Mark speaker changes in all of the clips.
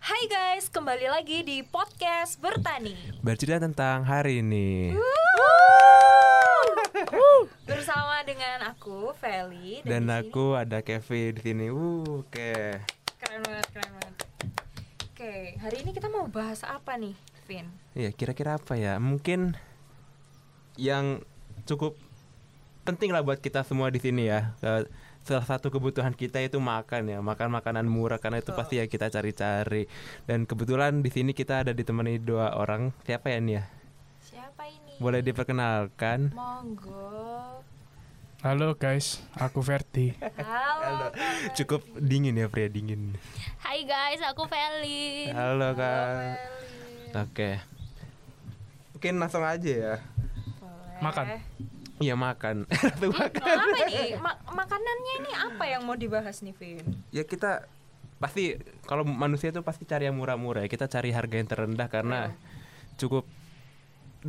Speaker 1: Hai guys, kembali lagi di podcast bertani
Speaker 2: Bercerita tentang hari ini
Speaker 1: bersama dengan aku Feli
Speaker 2: dan
Speaker 1: di sini-
Speaker 2: aku ada Kevin di sini. Uh, oke.
Speaker 1: keren banget, keren banget. Oke, hari ini kita mau bahas apa nih, Vin?
Speaker 2: Iya, kira-kira apa ya? Mungkin yang cukup penting lah buat kita semua di sini ya. Eh, Salah satu kebutuhan kita itu makan ya, makan makanan murah karena itu pasti ya kita cari-cari. Dan kebetulan di sini kita ada ditemani dua orang. Siapa ya nih ya?
Speaker 1: Siapa ini?
Speaker 2: Boleh diperkenalkan?
Speaker 1: Monggo.
Speaker 3: Halo guys, aku Verti.
Speaker 1: Halo. Kak.
Speaker 2: Cukup dingin ya, pria dingin.
Speaker 4: Hai guys, aku Feli.
Speaker 2: Halo,
Speaker 1: Feli.
Speaker 2: Kak. Oke. Mungkin langsung aja ya.
Speaker 1: Boleh.
Speaker 3: Makan.
Speaker 2: Iya makan. Tuh, makan.
Speaker 1: Apa nih? Ma- makanannya ini apa yang mau dibahas nih, Vin?
Speaker 2: ya kita pasti kalau manusia itu pasti cari yang murah-murah ya. Kita cari harga yang terendah karena cukup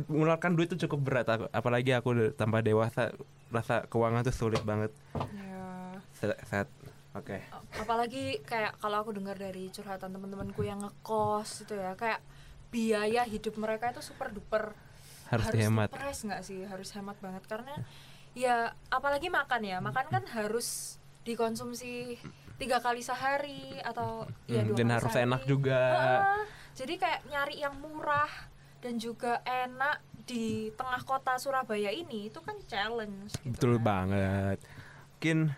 Speaker 2: mengeluarkan duit itu cukup berat Ap- apalagi aku udah tambah dewasa rasa keuangan tuh sulit banget.
Speaker 1: Ya.
Speaker 2: Set. set. Oke.
Speaker 1: apalagi kayak kalau aku dengar dari curhatan teman-temanku yang ngekos gitu ya kayak biaya hidup mereka itu super duper
Speaker 2: Harus dihemat.
Speaker 1: diperes nggak sih harus hemat banget karena ya apalagi makan ya makan kan harus dikonsumsi tiga kali sehari atau ya
Speaker 2: Hmm,
Speaker 1: dua Ah.
Speaker 2: dan
Speaker 1: kali
Speaker 2: harus
Speaker 1: sehari.
Speaker 2: enak juga.
Speaker 1: Heeh. jadi kayak nyari yang murah dan juga enak di tengah kota Surabaya ini itu kan challenge gitu
Speaker 2: Betul
Speaker 1: kan.
Speaker 2: banget. Mungkin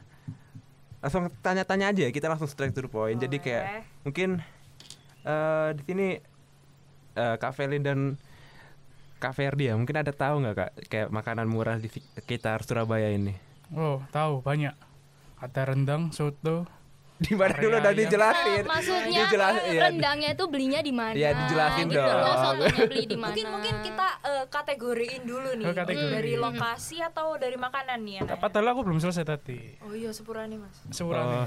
Speaker 2: langsung tanya-tanya aja ya. Kita langsung straight to the point. Jadi kayak
Speaker 1: Boleh.
Speaker 2: mungkin eh di sini eh Kak Felin dan Kak Ferdi ya mungkin ada tahu nggak kak kayak makanan murah di sekitar Surabaya ini
Speaker 3: Oh, tahu banyak. Ada rendang, soto.
Speaker 2: di mana dulu
Speaker 1: ya.
Speaker 2: udah
Speaker 3: Area-area.
Speaker 1: Eh,
Speaker 2: dijelasin
Speaker 4: Maksudnya eh,
Speaker 2: Dijelasin, iya.
Speaker 4: rendangnya itu belinya di mana?
Speaker 2: Iya, dijelasin
Speaker 4: gitu
Speaker 2: dong.
Speaker 4: loh, sotonya beli di mana?
Speaker 1: Mungkin mungkin kita eh, kategoriin dulu nih
Speaker 3: Oh, kategori.
Speaker 1: dari lokasi atau dari makanan nih ya. Naya?
Speaker 3: Apa tahu aku belum selesai tadi.
Speaker 1: Oh iya sepura nih mas.
Speaker 3: Sepurane.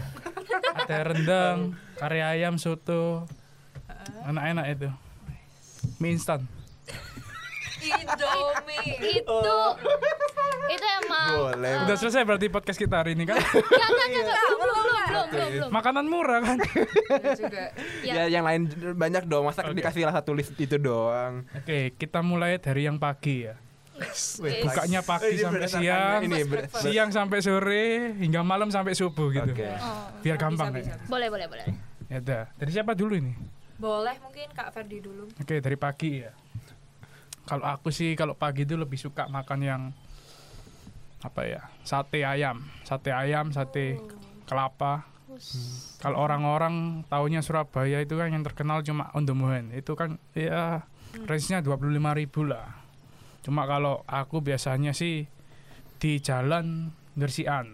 Speaker 3: Ada rendang, kari ayam, soto. Enak-enak itu. Mie instan.
Speaker 1: Indomie.
Speaker 4: itu Gitu. itu emang
Speaker 2: boleh
Speaker 3: Udah selesai berarti podcast kita hari ini kan?
Speaker 4: Nggak, nggak, nggak, nggak, belum belum belum belum belum.
Speaker 3: Makanan murah kan?
Speaker 1: Iya juga.
Speaker 4: Ya.
Speaker 2: ya yang lain banyak dong masa dikasih lah satu list itu doang
Speaker 3: Oke, kita mulai dari yang pagi ya.
Speaker 1: Wih,
Speaker 3: Bukanya pagi
Speaker 2: Ini
Speaker 3: sampai
Speaker 2: berdasarkan
Speaker 3: siang,
Speaker 2: Iya, ini ber- ber-
Speaker 3: siang sampai sore, hingga malam sampai subuh gitu.
Speaker 2: Oke.
Speaker 4: Oh,
Speaker 3: Biar gampang
Speaker 1: Bisa,
Speaker 3: ya.
Speaker 1: bisa.
Speaker 4: boleh boleh boleh.
Speaker 3: Ya udah. Dari siapa dulu ini?
Speaker 1: Boleh mungkin Kak Ferdi dulu.
Speaker 3: Oke dari pagi ya. Kalau aku sih kalau pagi itu lebih suka makan yang apa ya sate ayam, sate ayam, sate kelapa. Kalau orang-orang taunya Surabaya itu kan yang terkenal cuma ondomuhen itu kan ya range-nya 25.000 lah. Cuma kalau aku biasanya sih di jalan Gersian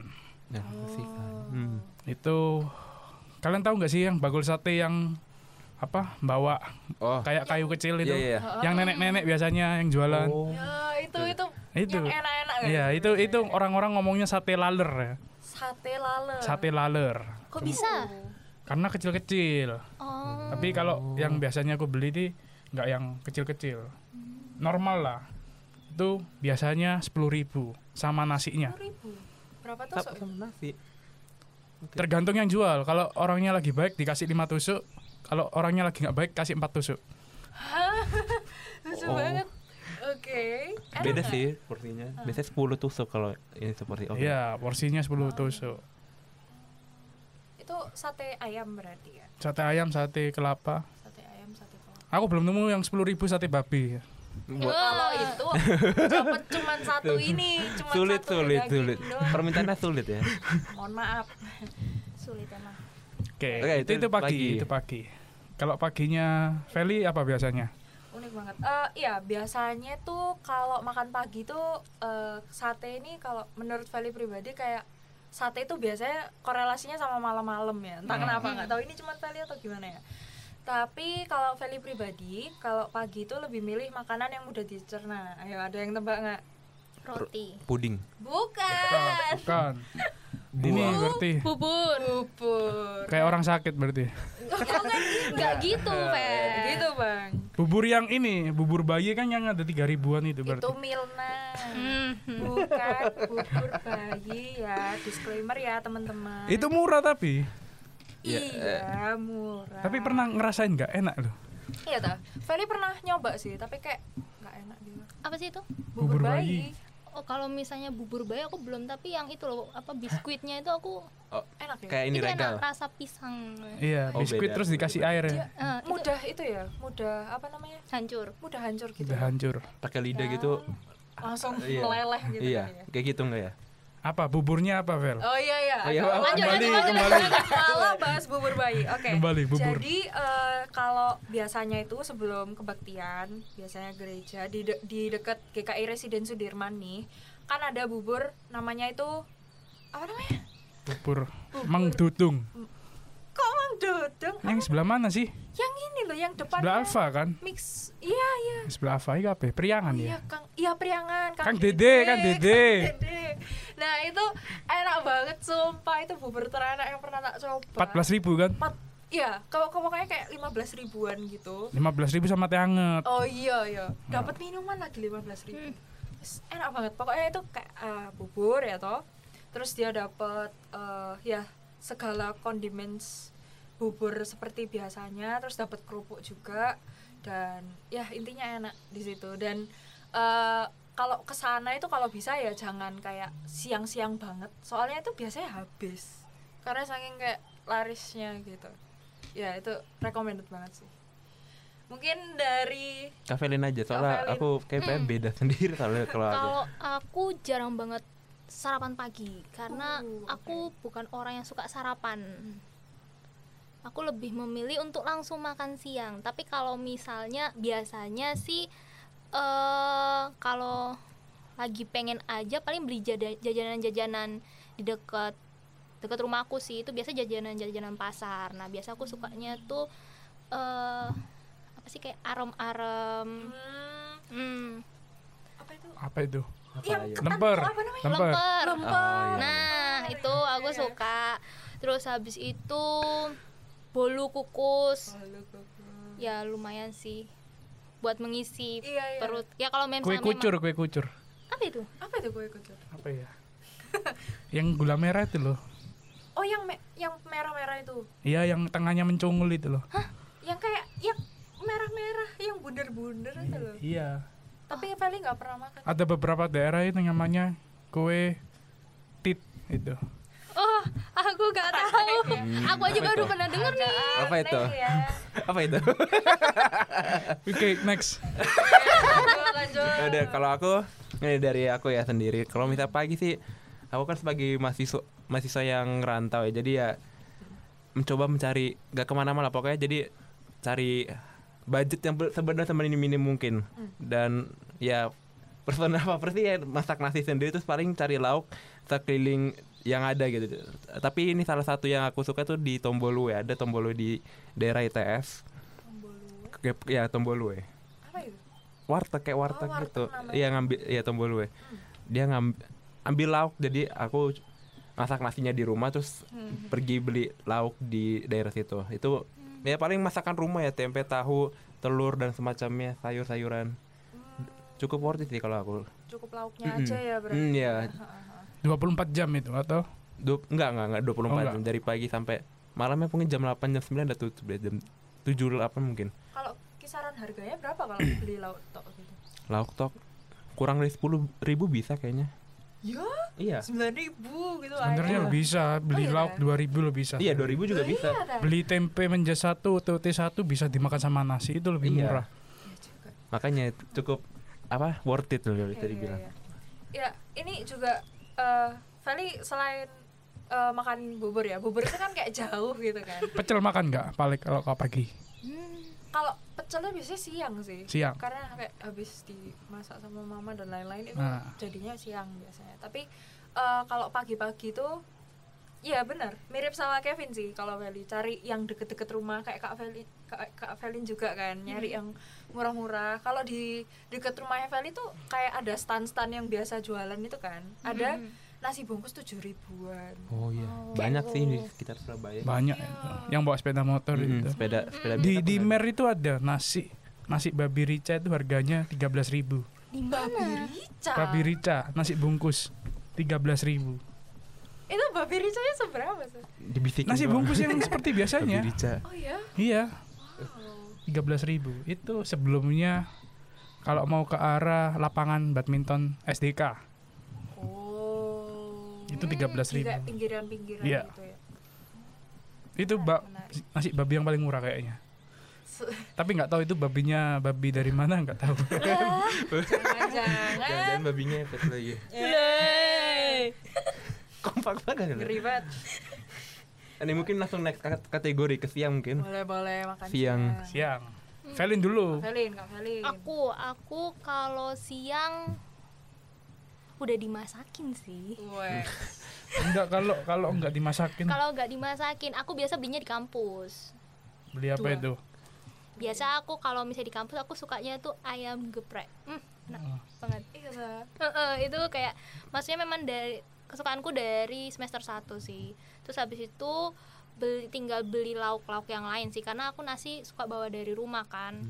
Speaker 2: Nah, sih, Kak. Hmm.
Speaker 3: itu kalian tahu nggak sih yang bagul sate yang apa bawa
Speaker 2: oh
Speaker 3: kayak kayu kecil itu
Speaker 2: iya iya
Speaker 3: yang nenek-nenek biasanya yang jualan
Speaker 2: Oh.
Speaker 1: Ya itu itu,
Speaker 3: itu
Speaker 1: yang enak-enak kan?
Speaker 3: iya itu itu orang-orang ngomongnya sate laler ya
Speaker 1: Sate laler.
Speaker 3: sate laler
Speaker 4: Kok bisa?
Speaker 3: karena kecil-kecil
Speaker 4: Oh,
Speaker 3: tapi kalau yang biasanya aku beli di nggak yang kecil-kecil normal lah itu biasanya 10.000 sama nasinya
Speaker 1: Ribu. Berapa tuh?
Speaker 2: Sap-
Speaker 1: Sok?
Speaker 2: sama nasi
Speaker 3: tergantung yang jual kalau orangnya lagi baik dikasih 5 tusuk kalau orangnya lagi nggak baik kasih 4 tusuk
Speaker 1: Lucu
Speaker 2: Oh.
Speaker 1: banget. Oke. Enak
Speaker 2: beda
Speaker 1: nggak?
Speaker 2: sih porsinya biasanya 10 tusuk kalau ini seperti oke
Speaker 3: iya porsinya 10 tusuk
Speaker 1: Itu sate ayam berarti ya.
Speaker 3: sate ayam sate kelapa
Speaker 1: Sate ayam, sate telur.
Speaker 3: aku belum nemu yang 10.000 sate babi
Speaker 2: Buat-
Speaker 4: Iya.
Speaker 1: Kalau itu dapat cuman satu ini, cuman
Speaker 2: sulit
Speaker 1: satu
Speaker 2: sulit
Speaker 1: daging
Speaker 2: sulit
Speaker 1: doang.
Speaker 2: permintaannya sulit ya
Speaker 1: Mohon maaf. Sulit emang.
Speaker 3: Oke,
Speaker 2: Oke,
Speaker 3: itu,
Speaker 2: itu
Speaker 3: itu pagi,
Speaker 2: pagi.
Speaker 3: itu pagi. Kalau paginya Feli apa biasanya?
Speaker 1: Unik banget. Eh iya, biasanya tuh kalau makan pagi tuh eh, sate ini kalau menurut Feli pribadi kayak sate itu biasanya korelasinya sama malam-malam ya. Entah kenapa nggak tahu ini cuma Feli atau gimana ya. Tapi kalau Feli pribadi, kalau pagi itu lebih milih makanan yang mudah dicerna. Ayo ada yang tebak nggak?
Speaker 4: roti.
Speaker 2: puding
Speaker 1: Bukan.
Speaker 3: Bukan. Ini berarti
Speaker 4: Bubur.
Speaker 1: Bubur.
Speaker 3: kayak orang sakit berarti.
Speaker 1: Oh, ya,
Speaker 4: Nggak
Speaker 2: Iya.
Speaker 4: gitu, Fel.
Speaker 1: Gitu, Bang.
Speaker 3: Bubur yang ini, bubur bayi kan yang ada tiga ribuan
Speaker 1: Itu
Speaker 3: itu berarti.
Speaker 1: Milna.
Speaker 4: Hmm.
Speaker 1: Bukan bubur bayi ya. Disclaimer ya, teman-teman.
Speaker 3: Itu, murah tapi.
Speaker 2: Iya,
Speaker 1: iya murah
Speaker 3: Tapi pernah ngerasain nggak enak loh.
Speaker 1: iya toh Feli pernah nyoba sih tapi kayak nggak enak gitu. dia
Speaker 4: apa sih itu
Speaker 3: Bubur bayi.
Speaker 4: oh kalau misalnya bubur bayi aku belum tapi yang itu loh apa biskuitnya itu aku
Speaker 2: Oh,
Speaker 1: enak ya
Speaker 2: kayak ini
Speaker 4: itu enak
Speaker 2: regal.
Speaker 4: rasa pisang
Speaker 3: Iya,
Speaker 2: Oh,
Speaker 3: biskuit
Speaker 2: beda.
Speaker 3: terus dikasih air ya.
Speaker 1: Dia
Speaker 4: Eh, itu
Speaker 1: mudah itu ya mudah apa namanya
Speaker 4: hancur
Speaker 1: mudah hancur gitu
Speaker 3: Udah hancur.
Speaker 2: Pakai lidah gitu.
Speaker 1: langsung
Speaker 2: Iya.
Speaker 1: meleleh Oh, gitu
Speaker 2: Iya,
Speaker 1: kan ya.
Speaker 2: kayak gitu enggak ya?
Speaker 3: Apa buburnya apa, Vel?
Speaker 1: Oh iya iya.
Speaker 2: Oh, iya,
Speaker 1: Aduh,
Speaker 2: Pak.
Speaker 1: lanjut,
Speaker 3: Kembali,
Speaker 1: lanjut,
Speaker 3: kembali.
Speaker 1: lanjut. Kalau bahas bubur bayi, oke.
Speaker 3: Kembali, bubur.
Speaker 1: Jadi eh, kalau biasanya itu sebelum kebaktian, biasanya gereja di de- di dekat GKI Residen Sudirman nih, kan ada bubur namanya itu apa namanya?
Speaker 3: Bubur Mang Dudung.
Speaker 1: Kok Mang Dodeng?
Speaker 3: Yang sebelah mana sih?
Speaker 1: Yang ini loh, yang depan.
Speaker 3: Sebelah Alfa kan?
Speaker 1: Mix. Iya iya.
Speaker 3: Sebelah Alfa itu apa? ya? Priangan
Speaker 1: Iya,
Speaker 3: ya.
Speaker 1: Kang. Iya, Priangan,
Speaker 3: Kang Dede, Kang Dede.
Speaker 1: Kang Dede. Nah, itu enak banget sumpah itu bubur terenak yang pernah tak coba.
Speaker 3: 14.000 kan?
Speaker 1: Mat, iya, kalau kamu kayak kayak 15 ribuan gitu.
Speaker 3: 15.000 sama teh anget.
Speaker 1: Oh iya iya, dapat minuman lagi 15 ribu. Enak banget. Pokoknya itu kayak eh, bubur ya toh. Terus dia dapat eh, ya segala condiments bubur seperti biasanya, terus dapat kerupuk juga dan ya intinya enak di situ dan eh, kalau kesana itu kalau bisa ya jangan kayak siang-siang banget soalnya itu biasanya habis karena saking kayak larisnya gitu ya itu recommended banget sih mungkin dari
Speaker 2: Kafelin aja
Speaker 1: Kafelin.
Speaker 2: soalnya
Speaker 1: Hmm.
Speaker 2: aku kayak pengen beda sendiri kalau kalau aku.
Speaker 4: Kalau aku jarang banget sarapan pagi karena aku bukan orang yang suka sarapan. Aku lebih memilih untuk langsung makan siang. Tapi kalau misalnya biasanya sih eh kalau lagi pengen aja paling beli jada- jajanan-jajanan di dekat dekat rumahku sih itu biasa jajanan-jajanan pasar. Nah, biasa aku sukanya tuh eh apa sih kayak arem-arem.
Speaker 1: hmm,
Speaker 4: Hmm.
Speaker 1: apa itu
Speaker 3: Apa itu?
Speaker 2: Apa
Speaker 1: Yang
Speaker 2: ayo?
Speaker 1: ketan
Speaker 3: Lemper.
Speaker 1: itu apa namanya
Speaker 3: Lemper.
Speaker 4: Lemper.
Speaker 1: Lemper.
Speaker 2: Oh, iya.
Speaker 4: Nah, itu aku suka. Terus habis itu bolu kukus. Ya lumayan sih buat mengisi
Speaker 1: Iya, iya.
Speaker 4: perut. Ya kalau mem-
Speaker 3: Kue
Speaker 4: memang
Speaker 3: kucur, kue kucur.
Speaker 4: Apa itu?
Speaker 1: apa itu gue ikut
Speaker 3: Apa ya? yang gula merah itu loh.
Speaker 1: oh yang me- yang merah-merah itu
Speaker 3: Iya, yang tengahnya mencungul itu loh.
Speaker 1: yang kayak yang merah-merah yang bundar-bundar itu loh
Speaker 3: Iya.
Speaker 1: tapi paling nggak pernah makan
Speaker 3: Ada beberapa daerah itu namanya kue tit itu.
Speaker 4: Oh, aku gak tahu.
Speaker 3: Hmm,
Speaker 4: aku aja baru pernah denger nih.
Speaker 2: Apa itu?
Speaker 1: Aneh ya.
Speaker 2: Apa itu?
Speaker 3: Oke, next.
Speaker 1: Lanjut, lanjut
Speaker 2: Udah, kalau aku ini dari aku ya sendiri. Kalau misal pagi sih aku kan sebagai mahasiswa mahasiswa yang rantau ya. Jadi ya mencoba mencari gak kemana-mana pokoknya jadi cari budget yang ber- sebenarnya sebenarnya minim mungkin dan ya person apa persi ya masak nasi sendiri terus paling cari lauk sekeliling yang ada gitu tapi ini salah satu yang aku suka tuh di Tombolu ya ada Tombolu di daerah ITS Ke- ya Tombolu ya
Speaker 1: apa itu
Speaker 2: warteg kayak warteg
Speaker 1: Oh, warteg
Speaker 2: gitu
Speaker 1: namanya.
Speaker 2: iya ngambil ya tombol gue dia ngambil ambil lauk jadi aku masak nasinya di rumah terus
Speaker 1: Hmm.
Speaker 2: pergi beli lauk di daerah situ itu ya paling masakan rumah ya tempe tahu telur dan semacamnya sayur-sayuran cukup worth it sih kalau aku
Speaker 1: cukup lauknya aja ya Hmm. berarti
Speaker 2: hmm, ya
Speaker 3: 24 jam itu atau
Speaker 2: du- enggak enggak enggak 24
Speaker 3: Oh, enggak.
Speaker 2: jam dari pagi sampai malamnya mungkin jam 8 jam 9 udah tutup deh jam 7 8 mungkin
Speaker 1: kalau kisaran harganya berapa kalau beli lauk tok gitu
Speaker 2: lauk tok kurang dari 10 ribu bisa kayaknya
Speaker 1: ya
Speaker 2: iya
Speaker 1: sembilan ribu gitu aja.
Speaker 3: sebenarnya bisa beli
Speaker 1: iya.
Speaker 3: lauk 2000 lo bisa.
Speaker 2: iya 2000 juga bisa
Speaker 1: Iya, Teh.
Speaker 3: Beli tempe menja satu, TOT satu bisa dimakan sama nasi itu lebih
Speaker 2: Iya.
Speaker 3: murah.
Speaker 1: Iya juga.
Speaker 2: makanya cukup apa worth it loh kalau
Speaker 1: Iya,
Speaker 2: bisa
Speaker 1: iya,
Speaker 2: dibilang
Speaker 1: iya. Ya, ini juga eh Feli selain eh, makan bubur ya. Bubur itu kan kayak jauh gitu kan.
Speaker 3: Pecel makan nggak balik kalau kalau pagi?
Speaker 1: Hmm, Kalau pecelnya biasanya siang sih.
Speaker 3: Siang.
Speaker 1: Karena kayak habis dimasak sama mama dan lain-lain itu
Speaker 3: Nah.
Speaker 1: jadinya siang biasanya. Tapi eh, kalau pagi-pagi tuh Iya benar, mirip sama Kevin sih kalau Feli cari yang deket-deket rumah kayak Kak Feli, Kak, Kak Felin juga kan nyari yang murah-murah. Kalau di deket rumahnya Feli tuh kayak ada stand-stand yang biasa jualan itu kan, ada nasi bungkus tujuh ribuan.
Speaker 2: oh iya banyak sih di sekitar Surabaya
Speaker 3: Banyak
Speaker 1: Iya.
Speaker 3: itu. Yang bawa sepeda motor
Speaker 2: Iya. Mm-mm,
Speaker 3: itu.
Speaker 2: sepeda sepeda
Speaker 3: Hmm. Di
Speaker 2: biasa
Speaker 3: di
Speaker 2: pun ada.
Speaker 3: Mer itu ada nasi nasi babi rica itu harganya 13.000.
Speaker 1: Babi rica.
Speaker 3: Babi rica, nasi bungkus 13.000.
Speaker 1: Itu babi ricanya seberapa sih?
Speaker 2: Dibisikin
Speaker 3: Nasi
Speaker 2: doang.
Speaker 3: bungkus yang seperti
Speaker 2: Babi
Speaker 3: biasanya.
Speaker 2: rica.
Speaker 1: Oh iya.
Speaker 3: Iya,
Speaker 1: Wow.
Speaker 3: 13.000. Itu sebelumnya kalau mau ke arah lapangan badminton SDK
Speaker 1: Oh.
Speaker 3: itu
Speaker 4: Hmm,
Speaker 3: 13.000.
Speaker 1: Juga pinggiran-pinggiran
Speaker 3: Iya.
Speaker 1: gitu ya. Nah,
Speaker 3: Itu ba-
Speaker 1: Menarik.
Speaker 3: nasi babi yang paling murah kayaknya.
Speaker 1: Se-
Speaker 3: Tapi nggak tahu itu babinya babi dari mana nggak tahu.
Speaker 1: Jangan-jangan.
Speaker 2: Jangan-jangan babinya efek lagi.
Speaker 1: Yeay.
Speaker 2: Kompak banget. loh.
Speaker 1: Ngeri banget.
Speaker 2: Ini mungkin langsung next kat- kategori ke siang mungkin.
Speaker 1: Boleh-boleh makan
Speaker 2: Siang.
Speaker 3: Siang. Felin dulu.
Speaker 1: Kafelin, kafelin.
Speaker 4: Aku, aku kalau siang udah dimasakin sih.
Speaker 1: Weh.
Speaker 3: Enggak kalau kalau nggak dimasakin
Speaker 4: Kalau nggak dimasakin, aku biasa belinya di kampus.
Speaker 3: beli apa
Speaker 1: Dua.
Speaker 3: itu?
Speaker 4: Biasa aku kalau misalnya di kampus aku sukanya tuh ayam geprek. Hmm, enak
Speaker 3: Oh.
Speaker 4: banget.
Speaker 1: Iya, Sa.
Speaker 4: Heeh, itu kayak maksudnya memang dari kesukaanku dari semester 1 sih. Terus habis itu beli tinggal beli lauk-lauk yang lain sih karena aku nasi suka bawa dari rumah kan.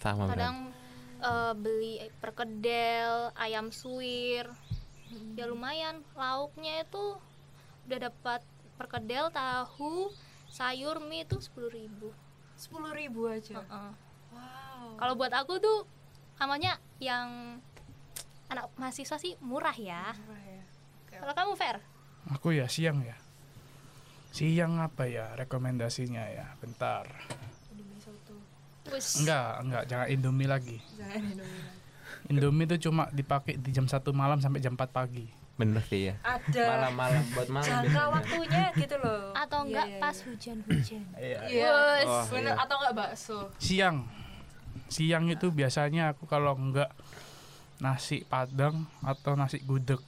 Speaker 2: Sama
Speaker 4: kadang
Speaker 2: berarti.
Speaker 4: eh, beli perkedel ayam suwir ya lumayan lauknya itu udah dapat perkedel tahu sayur mie itu sepuluh ribu
Speaker 1: Sepuluh ribu aja. Wow.
Speaker 4: kalau buat aku tuh namanya yang anak mahasiswa sih murah ya
Speaker 1: Murah ya.
Speaker 4: kalau kamu fair
Speaker 3: Aku ya siang ya. Siang apa ya rekomendasinya ya? Bentar.
Speaker 1: Indomie soto.
Speaker 4: Wis.
Speaker 3: Enggak, enggak jangan Indomie lagi.
Speaker 1: Jangan Indomie. lagi.
Speaker 3: Indomie itu cuma dipakai di jam 1 malam sampai jam 4 pagi.
Speaker 2: Bener sih ya.
Speaker 1: Ada.
Speaker 2: Malam-malam buat malam
Speaker 1: jangka
Speaker 2: biasanya.
Speaker 1: waktunya gitu loh.
Speaker 4: atau
Speaker 1: Iya,
Speaker 4: enggak
Speaker 1: iya,
Speaker 4: pas
Speaker 1: iya.
Speaker 4: hujan-hujan
Speaker 3: Iya.
Speaker 1: Iya.
Speaker 2: Wah,
Speaker 1: Bener,
Speaker 2: iya.
Speaker 1: atau enggak bakso.
Speaker 3: Siang. Siang itu biasanya aku kalau enggak nasi padang atau nasi gudeg.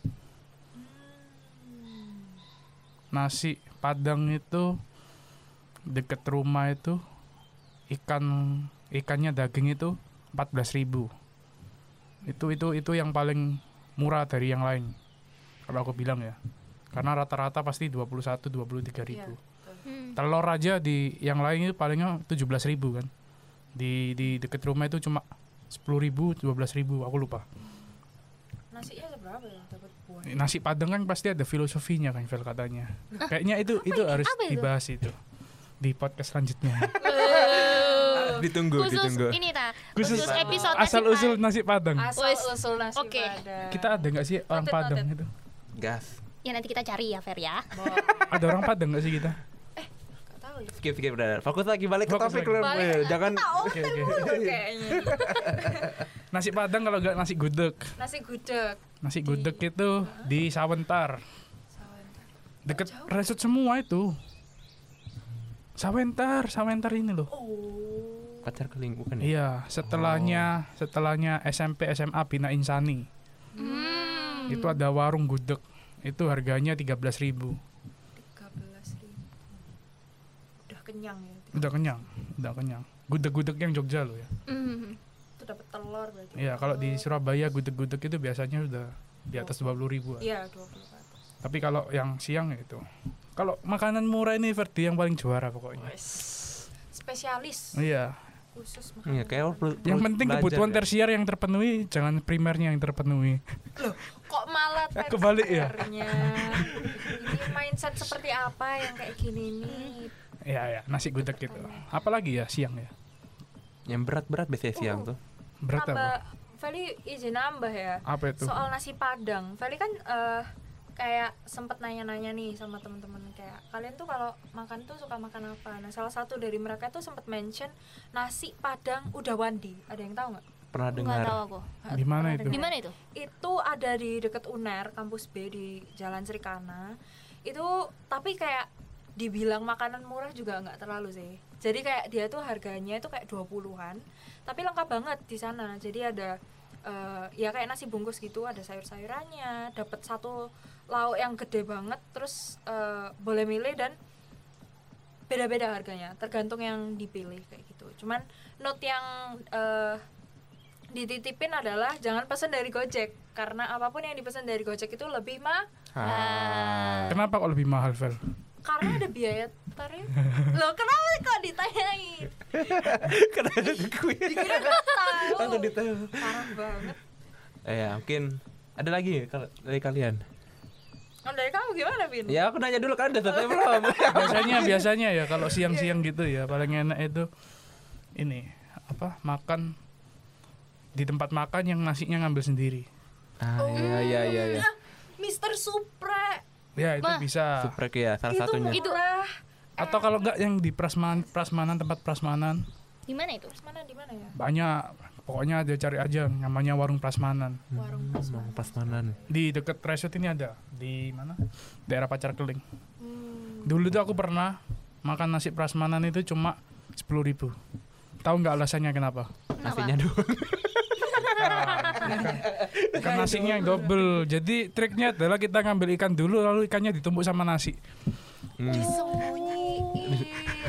Speaker 3: Nasi padang itu deket rumah itu ikan ikannya daging itu 14.000. Itu itu itu yang paling murah dari yang lain. Kalau aku bilang ya. Karena rata-rata pasti 21 23.000.
Speaker 1: Iya, betul.
Speaker 4: Hmm.
Speaker 3: telur aja di yang lain itu palingnya 17.000 kan di di deket rumah itu cuma 10.000 ribu aku lupa
Speaker 1: Nasinya seberapa ya dapat buah?
Speaker 3: nasi padang kan pasti ada filosofinya kan Vel katanya kayaknya itu itu harus
Speaker 4: Apa itu?
Speaker 3: dibahas itu di podcast selanjutnya
Speaker 2: Ditunggu,
Speaker 4: khusus
Speaker 2: ditunggu.
Speaker 4: ini ta
Speaker 3: Khusus
Speaker 4: khusus, episode
Speaker 3: asal
Speaker 4: nasib
Speaker 3: usul
Speaker 4: baik.
Speaker 3: nasi padang
Speaker 1: Asal
Speaker 4: Wes.
Speaker 1: usul nasi
Speaker 4: Oke.
Speaker 1: Padang.
Speaker 3: kita ada nggak sih orang
Speaker 1: Noted,
Speaker 3: padang
Speaker 1: noted.
Speaker 3: itu
Speaker 2: Gas.
Speaker 4: ya nanti kita cari ya Fer ya
Speaker 1: Boleh.
Speaker 3: ada orang padang nggak sih kita
Speaker 1: Nggak tahu ya.
Speaker 2: Skip, skip, udah. Fokus lagi balik ke
Speaker 3: Fokus
Speaker 2: topik
Speaker 3: lagi.
Speaker 2: lu.
Speaker 1: Balik.
Speaker 2: Eh, Jangan
Speaker 3: Oke, oke.
Speaker 1: Aduh, kayaknya.
Speaker 3: nasi padang kalau nggak nasi gudeg
Speaker 1: Nasi gudeg.
Speaker 3: nasi gudeg itu di Sawentar
Speaker 1: Sawentar.
Speaker 3: deket resort semua itu Sawentar Sawentar ini loh
Speaker 1: Oh.
Speaker 2: pacar keling bukan ya?
Speaker 3: Iya, setelahnya
Speaker 2: Oh.
Speaker 3: setelahnya SMP SMA Bina Insani.
Speaker 1: Hmm.
Speaker 4: Hmm.
Speaker 3: Itu ada warung gudeg. Itu harganya 13.000.
Speaker 1: 13.000. Udah kenyang ya.
Speaker 3: Udah kenyang, udah kenyang. Gudeg-gudeg yang Jogja loh ya.
Speaker 4: Hmm.
Speaker 1: Itu dapat telur berarti.
Speaker 3: Iya, kalau
Speaker 1: Oh.
Speaker 3: di Surabaya gudeg-gudeg itu biasanya udah di atas 20.000. an.
Speaker 1: Iya, 20 ke atas.
Speaker 3: Tapi kalau yang siang ya itu. Kalau makanan murah ini Verdi yang paling juara pokoknya.
Speaker 1: Wes. Spesialis
Speaker 3: Iya,
Speaker 1: khusus makanan.
Speaker 2: Iya, kayak lu perlu-
Speaker 3: yang
Speaker 2: perlu
Speaker 3: penting
Speaker 2: belajar
Speaker 3: kebutuhan
Speaker 2: ya.
Speaker 3: tersier yang terpenuhi, jangan primernya yang terpenuhi.
Speaker 1: Loh, kok malah
Speaker 3: Ah, kebalik ya?
Speaker 1: tersernya? Ini mindset seperti apa yang kayak gini nih?
Speaker 3: Iya, ya, nasi gudeg gitu. Apalagi ya siang ya.
Speaker 2: Yang berat-berat biasanya siang tuh.
Speaker 3: Berat apa?
Speaker 1: Nambah- Feli izin nambah ya.
Speaker 3: Apa itu?
Speaker 1: Soal nasi Padang, Feli kan eh, kayak sempet nanya-nanya nih sama temen-temen kayak kalian tuh kalau makan tuh suka makan apa? Nah, salah satu dari mereka tuh sempet mention nasi Padang udah wandi. Ada yang tahu nggak?
Speaker 2: Pernah
Speaker 4: nggak
Speaker 2: dengar.
Speaker 4: tahu aku
Speaker 1: Hah,
Speaker 3: Di mana
Speaker 1: pernah
Speaker 3: itu?
Speaker 1: dengar?
Speaker 4: di mana itu
Speaker 1: itu ada di deket UNER kampus B di Jalan Serikana itu tapi kayak dibilang makanan murah juga nggak terlalu sih jadi kayak dia tuh harganya itu kayak 20-an tapi lengkap banget di sana jadi ada eh, ya kayak nasi bungkus gitu ada sayur-sayurannya dapat satu lauk yang gede banget terus eh, boleh milih dan beda-beda harganya tergantung yang dipilih kayak gitu cuman note yang eh, dititipin adalah jangan pesan dari Gojek karena apapun yang dipesan dari Gojek itu lebih mah
Speaker 2: Ah.
Speaker 3: Kenapa kok lebih mahal, Vel?
Speaker 1: karena ada biaya tarif loh kenapa kok ditanyain
Speaker 2: Kenapa gue?
Speaker 1: dikira nggak tahu
Speaker 2: Langsung ditahu.
Speaker 1: parah banget
Speaker 2: Eh, ya, mungkin ada lagi ya kalau dari kalian.
Speaker 1: Kalau dari kamu gimana, Vin?
Speaker 2: Ya aku nanya dulu kan udah selesai belum?
Speaker 3: biasanya biasanya ya kalau siang-siang gitu ya paling enak itu ini apa makan di tempat makan yang nasinya ngambil sendiri
Speaker 2: ah iya iya iya. iya.
Speaker 1: Ah, Mr. Supre.
Speaker 3: ya itu
Speaker 4: Mah.
Speaker 3: bisa
Speaker 2: Suprek ya salah
Speaker 1: itu
Speaker 2: satunya.
Speaker 1: itu murah.
Speaker 3: atau kalau enggak yang di prasmanan prasmanan tempat prasmanan
Speaker 4: di mana itu
Speaker 1: Terus mana di mana ya?
Speaker 3: banyak pokoknya aja cari aja namanya warung prasmanan
Speaker 1: Warung Mas Wan.
Speaker 2: Pas manan.
Speaker 3: di dekat resort ini ada di mana daerah pacar keling dulu tuh aku pernah makan nasi prasmanan itu cuma sepuluh ribu tahu nggak alasannya kenapa
Speaker 2: Nasinya dulu.
Speaker 3: ikan nasinya yang double jadi triknya adalah kita ngambil ikan dulu lalu ikannya ditumbuk sama nasi
Speaker 2: Hmm,
Speaker 1: Disembunyiin.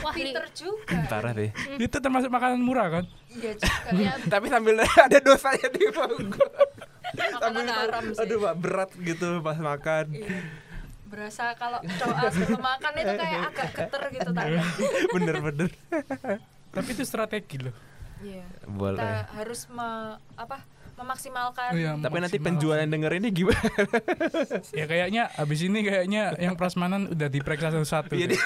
Speaker 4: Wah, Li.
Speaker 1: Pinter juga.
Speaker 2: parah deh.
Speaker 3: itu termasuk makanan murah kan
Speaker 1: Iya juga.
Speaker 4: ya
Speaker 2: Tapi sambil ada dosanya di punggung.
Speaker 1: Makanan haram sih.
Speaker 2: Aduh, Pak, berat gitu pas makan.
Speaker 1: Iya. Berasa kalau doa sebelum makan itu kayak agak geter gitu
Speaker 2: Iya.
Speaker 1: tangan.
Speaker 2: Bener-bener.
Speaker 3: tapi itu strategi loh
Speaker 1: Iya. Kita
Speaker 2: Boleh.
Speaker 1: harus me- apa? memaksimalkan
Speaker 3: Iya,
Speaker 2: Tapi nanti
Speaker 3: maksimal.
Speaker 2: penjualan denger ini gimana?
Speaker 3: ya kayaknya abis ini kayaknya yang prasmanan udah diperiksa satu-satu
Speaker 2: Iya,
Speaker 3: deh.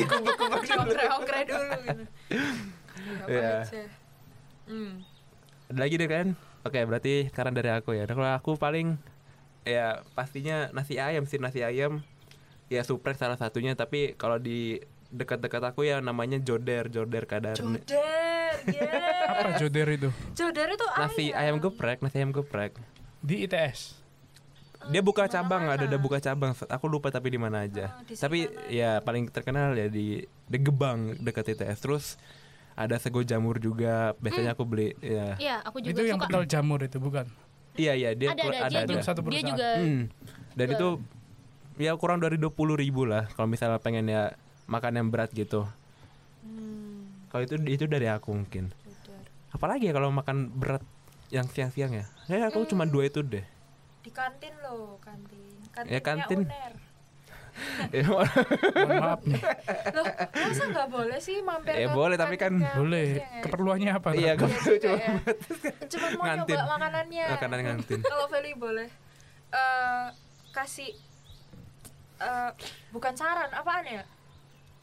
Speaker 1: diongkre-ongkre dulu gitu. Gak apa
Speaker 2: Iya.
Speaker 1: aja. Hmm.
Speaker 2: Ada lagi deh kan? Oke, berarti sekarang dari aku ya. Nah, Kalau aku paling ya pastinya nasi ayam sih nasi ayam. Ya suprek salah satunya, tapi kalau di dekat-dekat aku ya namanya joder, joder kadar.
Speaker 1: Joder, yeah.
Speaker 3: apa joder itu
Speaker 1: Joder itu ya?
Speaker 2: Nasi ayam geprek, nasi ayam geprek.
Speaker 3: di ITS
Speaker 2: Dia buka cabang, ada ada buka cabang. Aku lupa tapi di mana aja.
Speaker 1: Ah, di
Speaker 2: tapi ya paling terkenal ya di The Gebang dekat ITS. Terus ada sego jamur juga. Biasanya aku beli ya.
Speaker 4: ya aku juga
Speaker 3: itu yang
Speaker 4: suka
Speaker 3: betul jamur itu bukan
Speaker 2: Iya iya dia
Speaker 4: ada
Speaker 2: kur-
Speaker 4: ada dia
Speaker 3: ada.
Speaker 4: juga
Speaker 3: Satu
Speaker 4: dia
Speaker 3: perusahaan.
Speaker 4: juga
Speaker 2: Hmm. Dan itu ya kurang dari 20.000 ribu lah kalau misalnya pengen ya makan yang berat gitu.
Speaker 4: Hmm.
Speaker 2: Kalau itu itu dari aku mungkin. Apalagi ya kalau makan berat yang siang-siang ya. Ya
Speaker 4: Hmm.
Speaker 2: aku cuma dua itu deh.
Speaker 1: di kantin loh, kantin.
Speaker 2: Ya, kantin.
Speaker 1: Uner.
Speaker 2: Ya,
Speaker 3: Mohon maaf nih
Speaker 1: Loh, masa nggak boleh sih mampir
Speaker 2: Eh,
Speaker 1: ke gitu
Speaker 2: boleh, tapi kan-
Speaker 1: kantinnya?
Speaker 3: boleh
Speaker 1: iya.
Speaker 3: keperluannya apa
Speaker 2: Iya,
Speaker 3: Nat?
Speaker 2: kan cuma
Speaker 1: ya. Cuma mau
Speaker 2: Ngantin.
Speaker 1: nyoba makanannya.
Speaker 2: makanan ngantin.
Speaker 1: Kalau Feli boleh eh kasih eh bukan saran, apaan ya?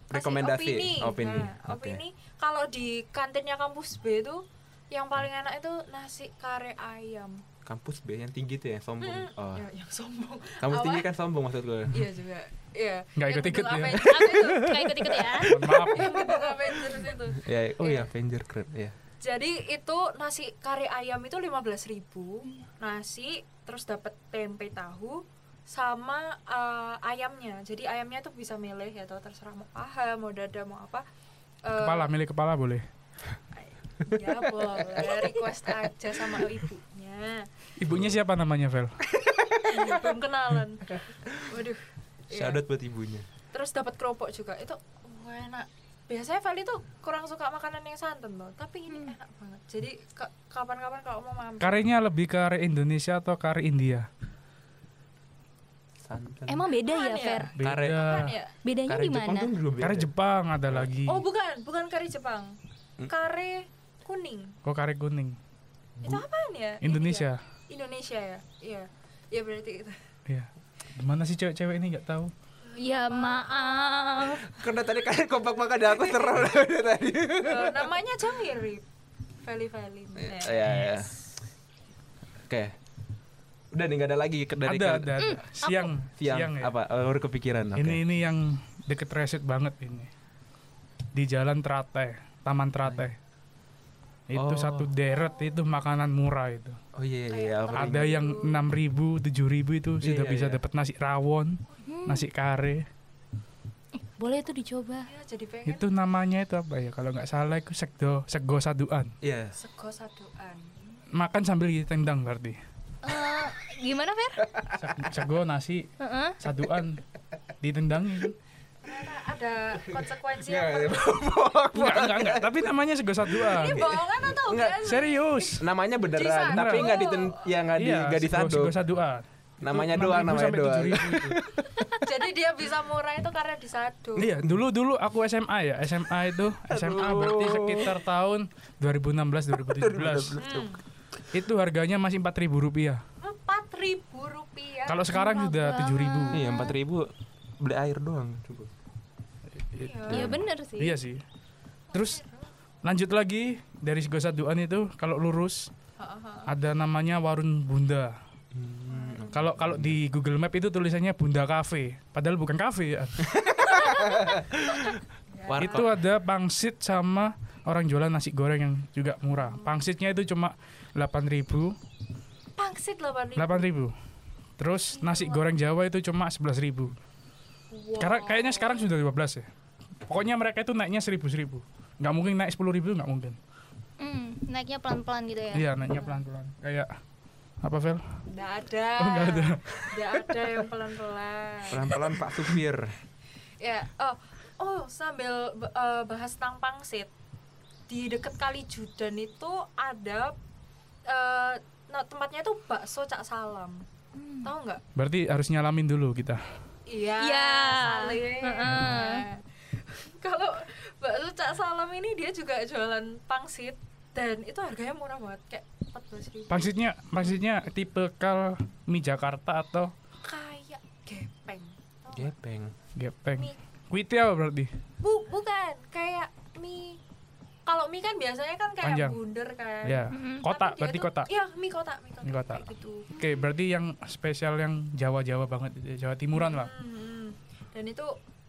Speaker 1: Kasih
Speaker 2: Rekomendasi,
Speaker 1: opini.
Speaker 2: opini,
Speaker 1: Nah,
Speaker 2: oke.
Speaker 1: opini kalau di kantinnya kampus B itu yang paling enak itu nasi kare ayam.
Speaker 2: Kampus B yang tinggi tuh ya, sombong.
Speaker 1: Mm,
Speaker 4: Hmm.
Speaker 2: Oh.
Speaker 1: Ya, yang sombong.
Speaker 2: Kampus
Speaker 1: Awal-
Speaker 2: tinggi kan sombong maksud gue.
Speaker 1: Iya juga. Iya.
Speaker 3: Nggak
Speaker 1: Yang
Speaker 3: ikut-ikut
Speaker 1: gedung
Speaker 3: ya.
Speaker 1: Aven-
Speaker 4: aku itu nggak ikut ikut ya
Speaker 3: Mohon maaf
Speaker 1: Yang gedung Avengers itu.
Speaker 2: Ya, oh ya
Speaker 4: Iya.
Speaker 2: Avenger keren ya.
Speaker 1: Jadi itu nasi kari ayam itu 15.000, nasi terus dapat tempe tahu sama eh, ayamnya. Jadi ayamnya tuh bisa milih ya atau terserah mau paha, mau dada, mau apa. Eh,
Speaker 3: kepala milik kepala boleh
Speaker 1: Ya boleh request aja sama ibunya.
Speaker 3: ibunya siapa namanya Vel
Speaker 1: Iya, Belum kenalan. Waduh. Iya.
Speaker 2: Shout out buat ibunya.
Speaker 1: Terus dapat keropok juga. Itu wah, enak. Biasanya Feli tuh kurang suka makanan yang santan loh, tapi ini enak banget. Jadi ke- kapan-kapan kalau mau mampir
Speaker 3: karinya lebih kari Indonesia atau kari India
Speaker 2: Santan.
Speaker 4: emang beda ya
Speaker 1: Apaan ya?
Speaker 4: Fer
Speaker 2: Kare-
Speaker 1: kan
Speaker 3: beda
Speaker 1: ya.
Speaker 4: bedanya
Speaker 2: Kare
Speaker 4: di
Speaker 2: Jepang
Speaker 4: mana
Speaker 2: tuh ya. juga beda.
Speaker 3: kari Jepang ada lagi
Speaker 1: Oh bukan, bukan kari Jepang.
Speaker 3: Hmm.
Speaker 1: Kare kuning.
Speaker 3: kok kari kuning
Speaker 1: Itu apaan ya?
Speaker 3: Hmm. Indonesia
Speaker 1: India. Indonesia ya. Iya. Ya berarti itu.
Speaker 3: Iya. Gimana sih cewek-cewek ini nggak tahu?
Speaker 4: ya maaf
Speaker 2: Karena tadi kalian kompak makan dan aku serem dari tadi.
Speaker 1: Eh, namanya aja mirip. Valley Valley. Nah,
Speaker 2: Iya, iya. Oke. Udah nih nggak ada lagi ke- dari
Speaker 3: ada,
Speaker 2: ke-
Speaker 3: ada, ada. Siang,
Speaker 2: Siang,
Speaker 3: ya.
Speaker 2: apa? Eh, Baru kepikiran. oke.
Speaker 3: Ini ini yang deket resit banget ini. Di Jalan Teratai, Taman Teratai. Itu
Speaker 2: Oh.
Speaker 3: satu deret itu makanan murah itu.
Speaker 2: Oh iya iya. iya, apa
Speaker 3: Ada
Speaker 2: nih?
Speaker 3: yang 6.000, 7.000 itu sudah
Speaker 2: Iya,
Speaker 3: bisa
Speaker 2: iya.
Speaker 3: dapat nasi rawon, nasi kare.
Speaker 4: Eh, boleh itu dicoba
Speaker 1: ya, jadi pengen
Speaker 3: Itu namanya itu apa ya? Kalau nggak salah itu segdo, sego saduan.
Speaker 2: Iya.
Speaker 1: sego saduan.
Speaker 3: Makan sambil ditendang berarti.
Speaker 4: Eh, gimana Fer
Speaker 3: Seg- Sego nasi
Speaker 4: Heeh.
Speaker 3: saduan ditendangin.
Speaker 1: Ternyata ada konsekuensi
Speaker 2: Nggak,
Speaker 1: apa?
Speaker 2: Oh,
Speaker 3: Enggak, enggak, enggak. Tapi namanya sego saduan.
Speaker 1: Ini bohongan atau
Speaker 2: Enggak,
Speaker 1: enggak?
Speaker 3: Serius. Iya,
Speaker 2: Namanya beneran,
Speaker 1: Disadu.
Speaker 2: tapi nggak diten, ya nggak di, nggak
Speaker 3: sego-
Speaker 2: disadu.
Speaker 3: sego saduan.
Speaker 2: Namanya
Speaker 3: Itu
Speaker 2: doang,
Speaker 3: 6.000
Speaker 2: namanya
Speaker 3: sampai
Speaker 2: doang.
Speaker 3: 7.000 itu.
Speaker 1: Jadi dia bisa murah itu karena disadu.
Speaker 3: Iya, dulu dulu aku SMA ya. SMA itu SMA berarti sekitar tahun 2016 2017. Itu harganya masih 4.000 rupiah.
Speaker 1: Empat ribu rupiah.
Speaker 3: Kalau sekarang
Speaker 4: murah
Speaker 3: sudah
Speaker 4: banget.
Speaker 3: 7.000.
Speaker 2: Iya, 4000 beli air doang cukup.
Speaker 4: Iya bener sih.
Speaker 3: Iya sih. Terus lanjut lagi dari Gosaduan itu kalau lurus ada namanya Warung Bunda. Kalau kalau di Google Map itu tulisannya Bunda Cafe, padahal bukan cafe ya. Itu ada pangsit sama orang jualan nasi goreng yang juga murah. Pangsitnya itu cuma 8.000,
Speaker 1: Pangsit 8 ribu.
Speaker 3: 8.000. Terus nasi goreng Jawa itu cuma 11.000. Karena kayaknya sekarang sudah 15 ya. Pokoknya mereka itu naiknya 1000-1000. Nggak mungkin naik 10.000 nggak mungkin.
Speaker 4: Hmm, naiknya pelan-pelan gitu ya.
Speaker 3: Iya, naiknya pelan-pelan. Kayak apa, Vel?
Speaker 1: Nggak ada.
Speaker 3: Oh, nggak ada.
Speaker 1: Nggak ada yang pelan-pelan.
Speaker 2: Pelan-pelan Pak supir.
Speaker 1: Ya, oh, oh sambil b- eh, bahas tentang pangsit di dekat kali Judan itu ada eh, nah, tempatnya itu bakso cak salam, tahu nggak?
Speaker 3: Berarti harus nyalamin dulu kita.
Speaker 1: Iya.
Speaker 4: Iya.
Speaker 1: salim.
Speaker 4: Heeh.
Speaker 1: Nah, Kalau bakso cak salam ini dia juga jualan pangsit dan itu harganya murah banget kayak 14 ribu.
Speaker 3: Pangsitnya, pangsitnya tipe kal mie Jakarta atau
Speaker 1: Kayak gepeng. Tahu nggak?
Speaker 2: Gepeng.
Speaker 3: gepeng.
Speaker 1: Mie.
Speaker 3: Kuitiau ya, berarti.
Speaker 1: Bu, bukan kayak mie. Kalau mie kan biasanya kan kayak
Speaker 3: Panjang.
Speaker 1: bundar kan.
Speaker 3: Ya,
Speaker 4: Mm-mm.
Speaker 3: kota
Speaker 1: Tapi dia
Speaker 3: berarti
Speaker 1: tuh-
Speaker 3: kota.
Speaker 1: Iya, mie kota, mie kota.
Speaker 3: Mie kota.
Speaker 1: Kayak gitu.
Speaker 3: Oke, berarti yang spesial yang Jawa-Jawa banget, Jawa Timuran lah.
Speaker 1: Hmm, Dan itu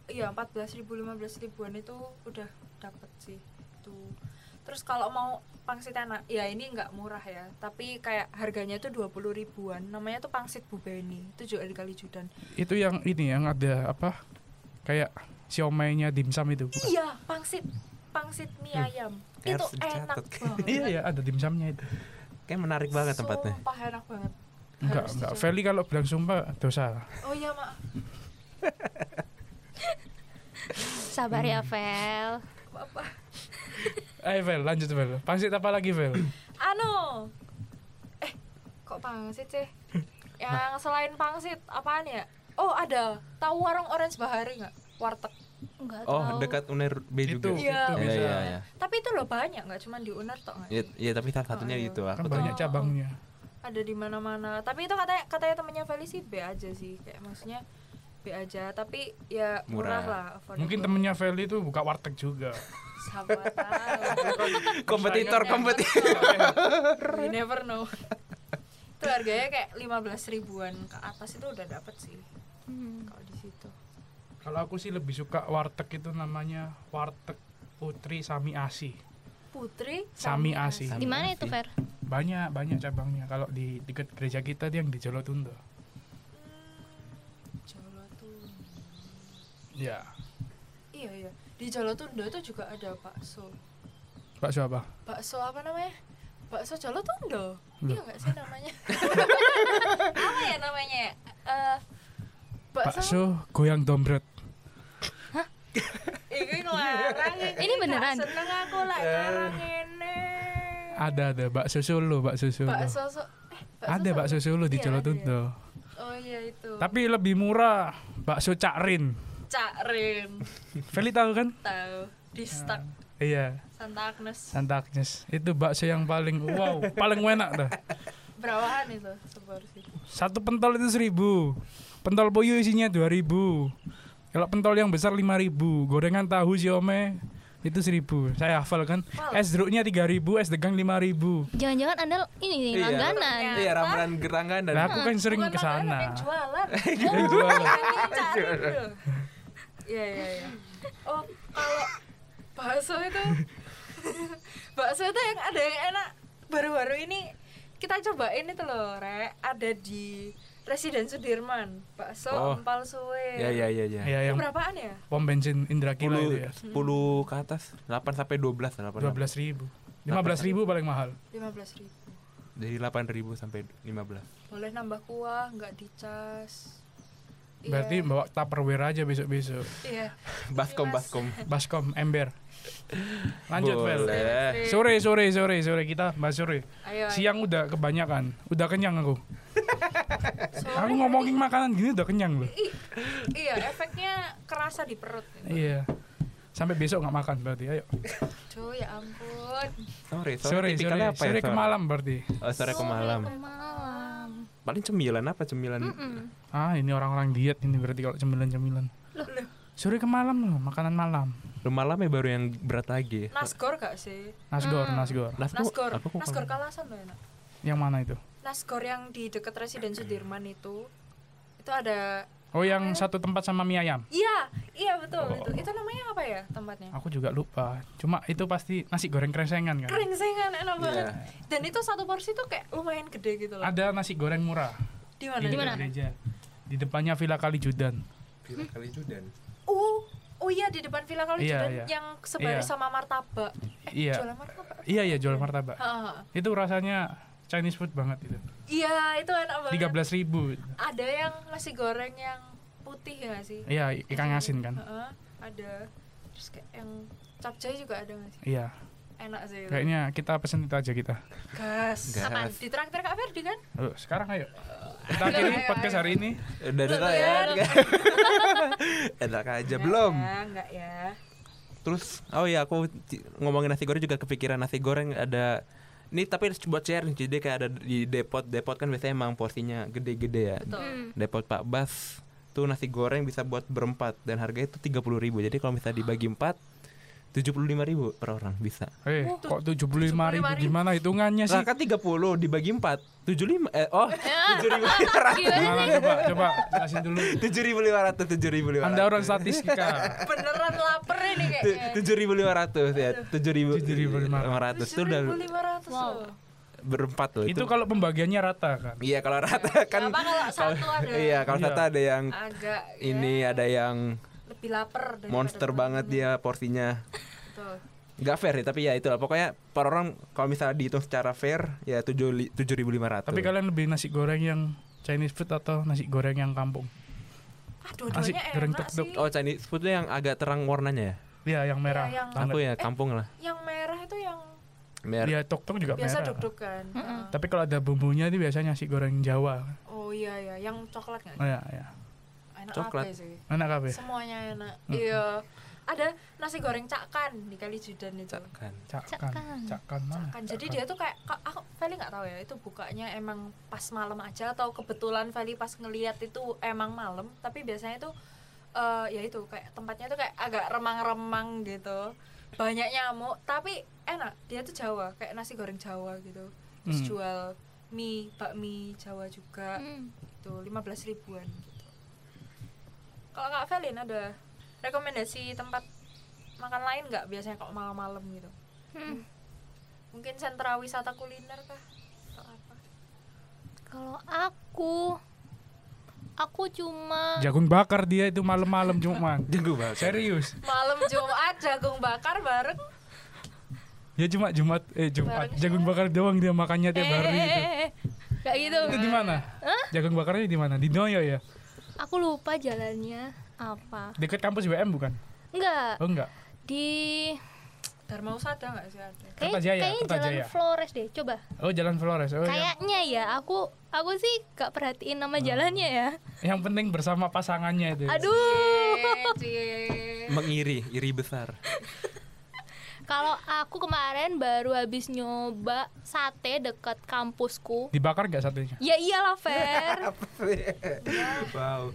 Speaker 1: iya 14.000 15.000-an itu udah dapet sih. Itu. Terus kalau mau pangsit enak, ya ini nggak murah ya, tapi kayak harganya itu 20 ribuan. Namanya tuh pangsit Bu Beni, itu juga di Kalijudan.
Speaker 3: Itu yang ini yang ada apa? Kayak siomaynya dimsum itu. bukan?
Speaker 1: Iya, pangsit pangsit mie
Speaker 3: Hmm.
Speaker 1: ayam. Itu
Speaker 2: harus
Speaker 1: enak
Speaker 2: dicatat.
Speaker 1: banget.
Speaker 3: Iya, ya, ada dimsumnya itu.
Speaker 2: Kayak menarik banget tempatnya.
Speaker 1: Sumpah enak banget.
Speaker 3: Enggak,
Speaker 1: Harus
Speaker 3: enggak.
Speaker 1: dicoba.
Speaker 3: Feli kalau bilang sumpah dosa.
Speaker 1: Oh iya, Mak.
Speaker 4: Sabar ya, Vel.
Speaker 1: Apa?
Speaker 3: Ayo Vel, Eh, lanjut Vel. Pangsit apa lagi Vel?
Speaker 1: Anu. Eh, kok pangsit sih? Yang selain pangsit apaan ya? Oh, ada. Tahu warung Orange Bahari nggak? Warteg.
Speaker 4: Enggak
Speaker 2: Oh,
Speaker 4: tahu.
Speaker 2: dekat UNER B
Speaker 1: Iya.
Speaker 2: juga.
Speaker 3: itu
Speaker 2: Iya,
Speaker 3: Oh, gitu. bisa.
Speaker 2: iya, iya.
Speaker 1: Tapi itu loh banyak nggak cuma di UNER tok. nggak?
Speaker 2: Iya, iya, tapi salah satunya
Speaker 1: Oh, iya.
Speaker 2: gitu.
Speaker 3: Kan
Speaker 2: Aku tuh
Speaker 3: banyak cabangnya.
Speaker 1: Ada di mana-mana. Tapi itu katanya katanya temannya Feli sih B aja sih. Kayak maksudnya B aja, tapi ya murah,
Speaker 2: Murah.
Speaker 1: lah. affordable.
Speaker 3: Mungkin temennya Feli itu buka warteg juga.
Speaker 1: Siapa tahu.
Speaker 2: kompetitor kompetitor.
Speaker 1: You never know. itu harganya kayak 15 ribuan ke atas itu udah dapet sih
Speaker 4: Hmm.
Speaker 1: kalau di situ.
Speaker 3: Kalau aku sih lebih suka warteg itu namanya warteg Putri Sami Asi.
Speaker 1: Putri
Speaker 3: Sami Asi.
Speaker 4: Di mana
Speaker 3: Iya.
Speaker 4: itu, Fer?
Speaker 3: Banyak banyak cabangnya. Kalau di dekat gereja kita dia yang di Jolotundo.
Speaker 1: Jawa tuh.
Speaker 3: Iya.
Speaker 1: Iya iya di Jolotundo itu juga ada bakso.
Speaker 3: Pak siapa?
Speaker 1: Bakso apa namanya? Bakso Jolotundo.
Speaker 3: Loh.
Speaker 1: Iya nggak sih namanya? apa ya namanya? ya? Eh bakso.
Speaker 3: Bakso goyang dompret.
Speaker 1: Ini ngelarang.
Speaker 4: Ini beneran?
Speaker 1: gak Seneng aku lah
Speaker 3: Eh.
Speaker 1: ngarang ini.
Speaker 3: Ada ada bakso Solo, bakso Solo.
Speaker 1: Bakso so eh,
Speaker 3: ada
Speaker 1: so-
Speaker 3: bakso Solo di
Speaker 1: Iya, ada
Speaker 3: Jolotundo.
Speaker 1: ya. Oh iya itu.
Speaker 3: Tapi lebih murah bakso cakrin.
Speaker 1: Cak Rin
Speaker 3: Feli tahu kan?
Speaker 1: tahu di Stak
Speaker 3: Iya,
Speaker 1: Santa Agnes.
Speaker 3: Santa Agnes. Itu bakso yang paling wow, paling enak dah.
Speaker 1: Berawahan itu seporsi.
Speaker 3: Satu pentol itu seribu Pentol puyuh isinya dua ribu Kalau pentol yang besar lima ribu Gorengan tahu siome itu seribu Saya hafal kan
Speaker 1: Wow.
Speaker 3: Es jeruknya tiga ribu Es degang lima ribu
Speaker 4: Jangan-jangan Anda ini nih,
Speaker 2: Iya.
Speaker 4: langganan.
Speaker 2: Iya, ramalan gerangan dan
Speaker 3: Nah aku kan sering
Speaker 1: Bukan
Speaker 3: ke
Speaker 1: makanan,
Speaker 3: sana
Speaker 1: yang jualan. Oh,
Speaker 3: Yang jualan.
Speaker 1: Yang cari dulu. Iya iya iya. Oh kalau bakso itu bakso itu yang ada yang enak baru-baru ini kita cobain itu loh rek ada di Residen Sudirman bakso
Speaker 2: Oh.
Speaker 1: empal suwe.
Speaker 2: Iya, iya, iya, iya.
Speaker 3: Ya
Speaker 1: Itu
Speaker 3: yang
Speaker 1: berapaan ya?
Speaker 3: pom bensin Indra Kila itu
Speaker 2: Sepuluh
Speaker 3: ya
Speaker 2: sepuluh ke atas, 8 sampai 12, 8.
Speaker 3: Dua belas ribu Lima belas ribu paling mahal
Speaker 1: Lima belas ribu.
Speaker 2: Dari 8.000 sampai 15.
Speaker 1: Boleh nambah kuah, nggak dicas. Iya.
Speaker 3: Berarti bawa tupperware aja besok-besok
Speaker 1: Iya.
Speaker 2: Baskom,
Speaker 1: Mas.
Speaker 2: baskom.
Speaker 3: Baskom, ember Lanjut Vel
Speaker 2: Boleh.
Speaker 3: Sore, sore, sore, sore kita bahas sore
Speaker 1: Ayo. ayo.
Speaker 3: Siang udah kebanyakan Udah kenyang aku
Speaker 1: Sore
Speaker 3: Aku ngomongin makanan gini udah kenyang loh.
Speaker 1: Iya, I- iya efeknya kerasa di perut gitu.
Speaker 3: Iya. Sampai besok nggak makan berarti. Ayo.
Speaker 1: Duh, ya ampun
Speaker 2: Sore, sore,
Speaker 3: Sore, sore,
Speaker 2: tipikalnya apa ya?
Speaker 4: Oh,
Speaker 3: sore ke malam berarti.
Speaker 2: Oh, sore ke malam.
Speaker 4: Malam.
Speaker 2: paling cemilan apa cemilan
Speaker 4: iya, Mm-mm.
Speaker 3: Ah, ini orang-orang diet ini berarti kalau cemilan-cemilan. Sore ke malam loh, makanan malam.
Speaker 2: Lu malam ya baru yang berat lagi
Speaker 1: Nasgor gak sih?
Speaker 3: Nasgor,
Speaker 1: Ah.
Speaker 4: Hmm.
Speaker 3: nasgor.
Speaker 2: Nasgor,
Speaker 1: Nasgor.
Speaker 2: aku kok
Speaker 1: Nasgor
Speaker 2: kalau-
Speaker 1: kalasan loh enak.
Speaker 3: Yang mana itu?
Speaker 1: Nasgor yang di dekat Residen Sudirman itu. Itu ada
Speaker 3: Oh, yang satu tempat sama mie ayam.
Speaker 1: Iya, iya betul itu. Itu namanya apa ya tempatnya?
Speaker 3: Aku juga lupa. Cuma itu pasti nasi goreng kresengan kan.
Speaker 1: Krengsengan enak banget.
Speaker 2: Iya.
Speaker 1: Dan itu satu porsi tuh kayak lumayan gede gitu loh.
Speaker 3: Ada nasi goreng murah
Speaker 1: Di mana?
Speaker 3: di
Speaker 1: Di
Speaker 4: mana?
Speaker 3: gereja. Di depannya Villa Kalijudan.
Speaker 1: Oh, oh iya di depan Villa Kalijudan
Speaker 3: Iya, iya.
Speaker 1: yang sebaris
Speaker 3: Iya.
Speaker 1: sama martabak. Eh,
Speaker 3: Iya.
Speaker 1: jualan martabak.
Speaker 3: Iya, iya jual martabak.
Speaker 1: Heeh.
Speaker 3: Itu rasanya Chinese food banget itu.
Speaker 1: Iya, itu enak banget.
Speaker 3: 13.000 ribu.
Speaker 1: Ada yang nasi goreng yang putih ya nggak sih?
Speaker 3: Iya, ikan asin kan.
Speaker 1: Heeh, ada. Terus kayak yang capcay juga ada nggak sih?
Speaker 3: Iya,
Speaker 1: Enak sih. itu.
Speaker 3: kayaknya kita pesen itu aja kita.
Speaker 1: Gas.
Speaker 2: Gas.
Speaker 1: Apaan? Di traktir Kak Ferdi kan?
Speaker 3: Ayo, sekarang ayo. Kita akhiri
Speaker 1: ayo,
Speaker 3: podcast
Speaker 1: ayo.
Speaker 3: hari ini.
Speaker 2: Udah ada
Speaker 1: Belum
Speaker 2: ya
Speaker 1: ya,
Speaker 2: Enak aja
Speaker 1: Nggak
Speaker 2: belum
Speaker 1: Ya, enggak ya.
Speaker 2: Terus oh ya aku ci- ngomongin nasi goreng juga kepikiran nasi goreng ada ini tapi buat share nih, jadi kayak ada di depot depot kan biasanya emang porsinya gede-gede ya
Speaker 1: Betul.
Speaker 4: Mm.
Speaker 2: depot Pak Bas tuh nasi goreng bisa buat berempat dan harganya itu tiga puluh ribu jadi kalau misalnya dibagi empat tujuh puluh lima ribu per orang bisa
Speaker 3: Eh, kok 75 ribu gimana hitungannya sih?
Speaker 2: Lah kan tiga puluh dibagi empat tujuh lima eh oh tujuh ribu lima ratus
Speaker 3: Gimana coba coba jelasin dulu.
Speaker 2: tujuh ribu lima ratus tujuh ribu lima
Speaker 3: Anda orang statistika.
Speaker 1: Beneran lapar ini kayaknya.
Speaker 2: tujuh ribu lima ratus ya tujuh ribu lima ratus itu udah
Speaker 1: 7.500
Speaker 4: Wow.
Speaker 1: loh.
Speaker 2: berempat loh
Speaker 3: Itu kalau pembagiannya rata kan.
Speaker 2: Iya kalau rata kan
Speaker 1: Apa kalau satu ada
Speaker 2: iya kalau
Speaker 3: Iya.
Speaker 2: rata ada yang
Speaker 1: agak ya,
Speaker 2: ini ada yang
Speaker 1: lebih lapar daripada
Speaker 2: monster
Speaker 1: teman.
Speaker 2: banget dia porsinya.
Speaker 1: Betul.
Speaker 2: Gak fair ya, tapi ya itulah pokoknya per orang kalau misalnya dihitung secara fair ya tujuh tujuh ribu lima ratus.
Speaker 3: Tapi kalian lebih nasi goreng yang Chinese food atau nasi goreng yang kampung?
Speaker 1: Ah, dua-duanya
Speaker 3: Nasi
Speaker 1: enak
Speaker 3: goreng
Speaker 1: sih.
Speaker 3: tuk-tuk.
Speaker 2: oh Chinese food tuh yang agak terang warnanya ya.
Speaker 3: Iya, yang merah.
Speaker 1: Iya, yang-
Speaker 3: banget.
Speaker 2: Aku ya kampung lah.
Speaker 1: Yang merah itu yang
Speaker 2: Mer-
Speaker 3: Iya, tok-tok juga
Speaker 1: biasa
Speaker 3: merah.
Speaker 1: duduk kan. Heeh.
Speaker 3: Tapi kalau ada bumbunya itu biasanya nasi goreng Jawa.
Speaker 1: Oh iya ya, yang coklat kan.
Speaker 3: Oh, iya, iya.
Speaker 1: Enak
Speaker 2: Coklat.
Speaker 1: apa sih?
Speaker 3: Enak apa? ya?
Speaker 1: Semuanya enak. Iya. Ada nasi goreng cakan di Kalijudan itu. Cakan.
Speaker 2: Kan.
Speaker 3: Cakkan. Cakkan mana?
Speaker 1: Jadi dia tuh kayak ka- aku Feli nggak tahu ya itu bukanya emang pas malam aja atau kebetulan Feli pas ngeliat itu emang malam tapi biasanya itu eh ya itu kayak tempatnya tuh kayak agak remang-remang gitu banyak nyamuk tapi enak dia tuh Jawa kayak nasi goreng Jawa gitu terus
Speaker 3: Hmm.
Speaker 1: jual mie bakmi Jawa juga
Speaker 4: Mm.
Speaker 1: itu 15 ribuan gitu. Kalau Kak Felin ada rekomendasi tempat makan lain nggak biasanya kalau malam-malam gitu?
Speaker 4: Mm.
Speaker 1: Mungkin sentra wisata kuliner kah? Atau apa?
Speaker 4: Kalau aku aku cuma
Speaker 3: Jagung bakar dia itu malam-malam cuman.
Speaker 2: Jago banget.
Speaker 3: Serius.
Speaker 1: Malam Jumat jagung bakar bareng.
Speaker 3: Ya cuma Jumat eh Jumat.
Speaker 1: Bareng
Speaker 3: Jagung bakar doang dia makannya
Speaker 1: Eh,
Speaker 4: Eh,
Speaker 3: tiap hari gitu.
Speaker 4: kayak gitu.
Speaker 3: Itu di mana? Jagung bakarnya di mana? Di Noyo ya?
Speaker 4: Aku lupa jalannya apa.
Speaker 3: Dekat kampus WM bukan?
Speaker 4: Enggak.
Speaker 3: Oh enggak.
Speaker 4: Di
Speaker 1: Dharma Usada nggak sih ada?
Speaker 4: kayak
Speaker 3: Kertajaya,
Speaker 4: kayaknya jalan
Speaker 3: Kertajaya.
Speaker 4: Flores deh. Coba.
Speaker 3: Oh Jalan Flores. Oh iya. Hmm.
Speaker 4: Kayaknya ya, aku aku sih gak perhatiin nama jalannya ya.
Speaker 3: Yang penting bersama pasangannya itu.
Speaker 4: Aduh.
Speaker 1: Eh, cie.
Speaker 2: Mengiri, iri besar.
Speaker 4: Kalau aku kemarin baru habis nyoba sate dekat kampusku.
Speaker 3: Dibakar nggak satenya?
Speaker 4: Ya iyalah, Fer.
Speaker 2: wow.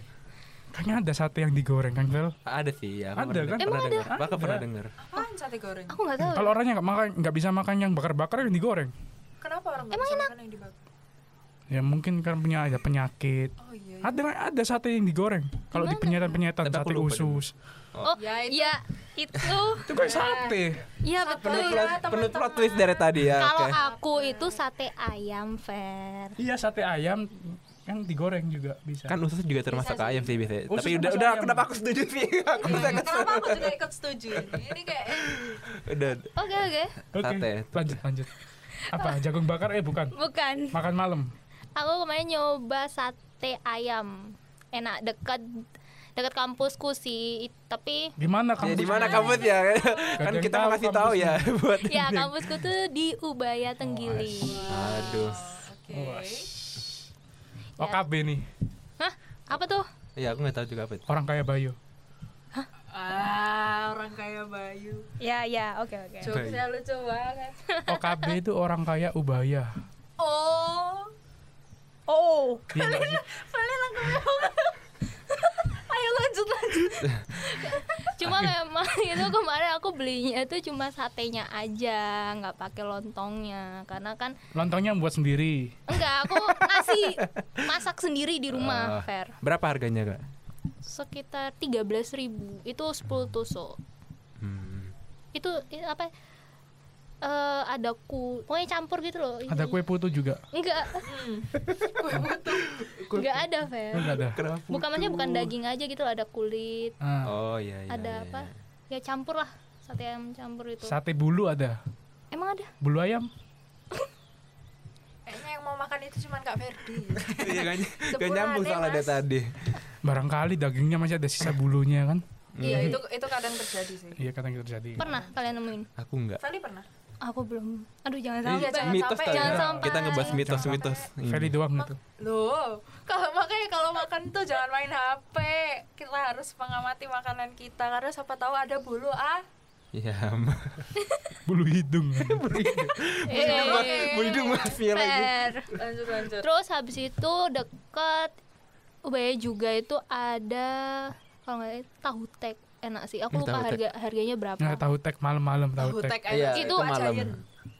Speaker 3: Kayaknya ada sate yang digoreng Kang Vel.
Speaker 2: Ada sih ya.
Speaker 3: Ada kan?
Speaker 2: Pernah
Speaker 4: Emang ada?
Speaker 2: dengar. Bahkan pernah
Speaker 3: Ada.
Speaker 2: dengar.
Speaker 1: Apaan sate goreng?
Speaker 4: Aku nggak tahu.
Speaker 3: Kalau orangnya nggak makan nggak bisa makan yang bakar-bakar yang digoreng.
Speaker 1: Kenapa orang nggak bisa makan yang dibakar?
Speaker 3: Ya mungkin kan punya ada penyakit.
Speaker 1: Oh iya. iya.
Speaker 3: Ada ada sate yang digoreng. Kalau di penyetan-penyetan
Speaker 2: Tapi aku
Speaker 3: sate
Speaker 2: lupa
Speaker 3: usus.
Speaker 4: Oh,
Speaker 1: Ya, itu.
Speaker 4: ya itu.
Speaker 3: Itu kan sate.
Speaker 4: Iya
Speaker 2: Penuh
Speaker 4: betul.
Speaker 2: plot, penuh plot twist dari tadi ya. oke.
Speaker 4: Kalau aku itu sate ayam, Fer.
Speaker 3: Iya sate ayam yang digoreng juga bisa.
Speaker 2: Kan usus juga termasuk ayam sih biasanya.
Speaker 3: Usus
Speaker 2: Tapi udah
Speaker 3: termasuk
Speaker 2: udah
Speaker 3: ayam.
Speaker 2: kenapa aku setuju sih? Aku bisa
Speaker 1: Kenapa aku juga ikut setuju? Ini kayak
Speaker 2: udah
Speaker 4: Oke, oke.
Speaker 3: Oke.
Speaker 2: sate.
Speaker 3: Lanjut lanjut. Apa jagung bakar eh bukan.
Speaker 4: Bukan.
Speaker 3: Makan malam.
Speaker 4: Aku kemarin nyoba sate ayam. Enak dekat dekat kampusku sih, It- tapi
Speaker 3: Gimana kamu?
Speaker 2: Ya di mana kampus ya? kan
Speaker 3: yang
Speaker 2: kita
Speaker 3: tahu
Speaker 2: ngasih tahu ya buat.
Speaker 4: ya kampusku tuh di Ubaya Tenggili.
Speaker 2: Oh, Aduh.
Speaker 1: oke.
Speaker 3: OKB nih.
Speaker 4: Hah? Apa tuh?
Speaker 2: Ya aku nggak tahu juga apa itu.
Speaker 3: Orang kaya Bayu.
Speaker 1: Ah, orang kaya Bayu.
Speaker 4: Ya, ya, oke, oke.
Speaker 1: Jokesnya lucu banget.
Speaker 3: OKB itu orang kaya Ubaya.
Speaker 1: Oh.
Speaker 4: Oh.
Speaker 1: bau kalian kalian nangkepnya bau ayo lanjut lanjut
Speaker 4: cuma memang itu kemarin aku belinya itu cuma satenya aja nggak pakai lontongnya karena kan
Speaker 3: Lontongnya buat sendiri.
Speaker 4: enggak aku nasi masak sendiri di
Speaker 2: Ah.
Speaker 4: rumah Fer
Speaker 2: Berapa harganya kak?
Speaker 4: sekitar 13.000 ribu itu 10 tusuk
Speaker 2: Hmm.
Speaker 4: itu i- apa ya, eh ada ku pokoknya campur gitu loh
Speaker 3: Ada kue putu juga.
Speaker 4: enggak
Speaker 1: gue butuh
Speaker 4: enggak ada Fer
Speaker 3: Enggak ada.
Speaker 2: Kenapa?
Speaker 4: bukan maksudnya bukan daging aja gitu loh ada kulit
Speaker 3: Ah,
Speaker 2: Oh iya iya.
Speaker 4: ada
Speaker 2: iya,
Speaker 4: apa
Speaker 2: iya.
Speaker 4: ya campur lah sate ayam campur itu
Speaker 3: Sate bulu ada.
Speaker 4: emang ada
Speaker 3: Bulu ayam.
Speaker 1: kayaknya yang mau makan itu cuman kak Ferdi
Speaker 2: Iya kan? Gak
Speaker 1: Sepuluh
Speaker 2: nyambung
Speaker 1: ada,
Speaker 2: soalnya dari
Speaker 1: Mas.
Speaker 2: tadi.
Speaker 3: Barangkali dagingnya masih ada sisa bulunya kan.
Speaker 1: iya itu itu kadang terjadi sih
Speaker 3: Iya kadang itu terjadi.
Speaker 4: pernah kalian nemuin
Speaker 2: Aku enggak.
Speaker 1: Feli pernah
Speaker 4: aku belum aduh jangan
Speaker 1: Iya,
Speaker 4: sampai
Speaker 1: jangan
Speaker 2: mitos
Speaker 1: sampai,
Speaker 2: tadi.
Speaker 4: jangan sampai.
Speaker 2: Kita ngebahas mitos-mitos. ini.
Speaker 3: Feli doang itu.
Speaker 1: Loh, kalau makanya kalau makan tuh jangan main HP. Kita harus mengamati makanan kita karena siapa tahu ada bulu ah.
Speaker 2: Iya.
Speaker 3: Bulu hidung.
Speaker 4: Eh,
Speaker 2: Mau hidung masnya lagi.
Speaker 4: fair.
Speaker 1: Lanjut lanjut.
Speaker 4: terus habis itu dekat UBY juga itu ada kalau nggak salah, tahu tek enak sih aku
Speaker 2: Hmm,
Speaker 4: lupa
Speaker 2: tahu tek.
Speaker 4: harga harganya berapa
Speaker 3: Nggak tahu tek malam-malam tahu tek.
Speaker 1: Hutek
Speaker 2: Iya,
Speaker 1: aja.
Speaker 4: itu
Speaker 1: Pak
Speaker 2: malam.
Speaker 1: Jayan.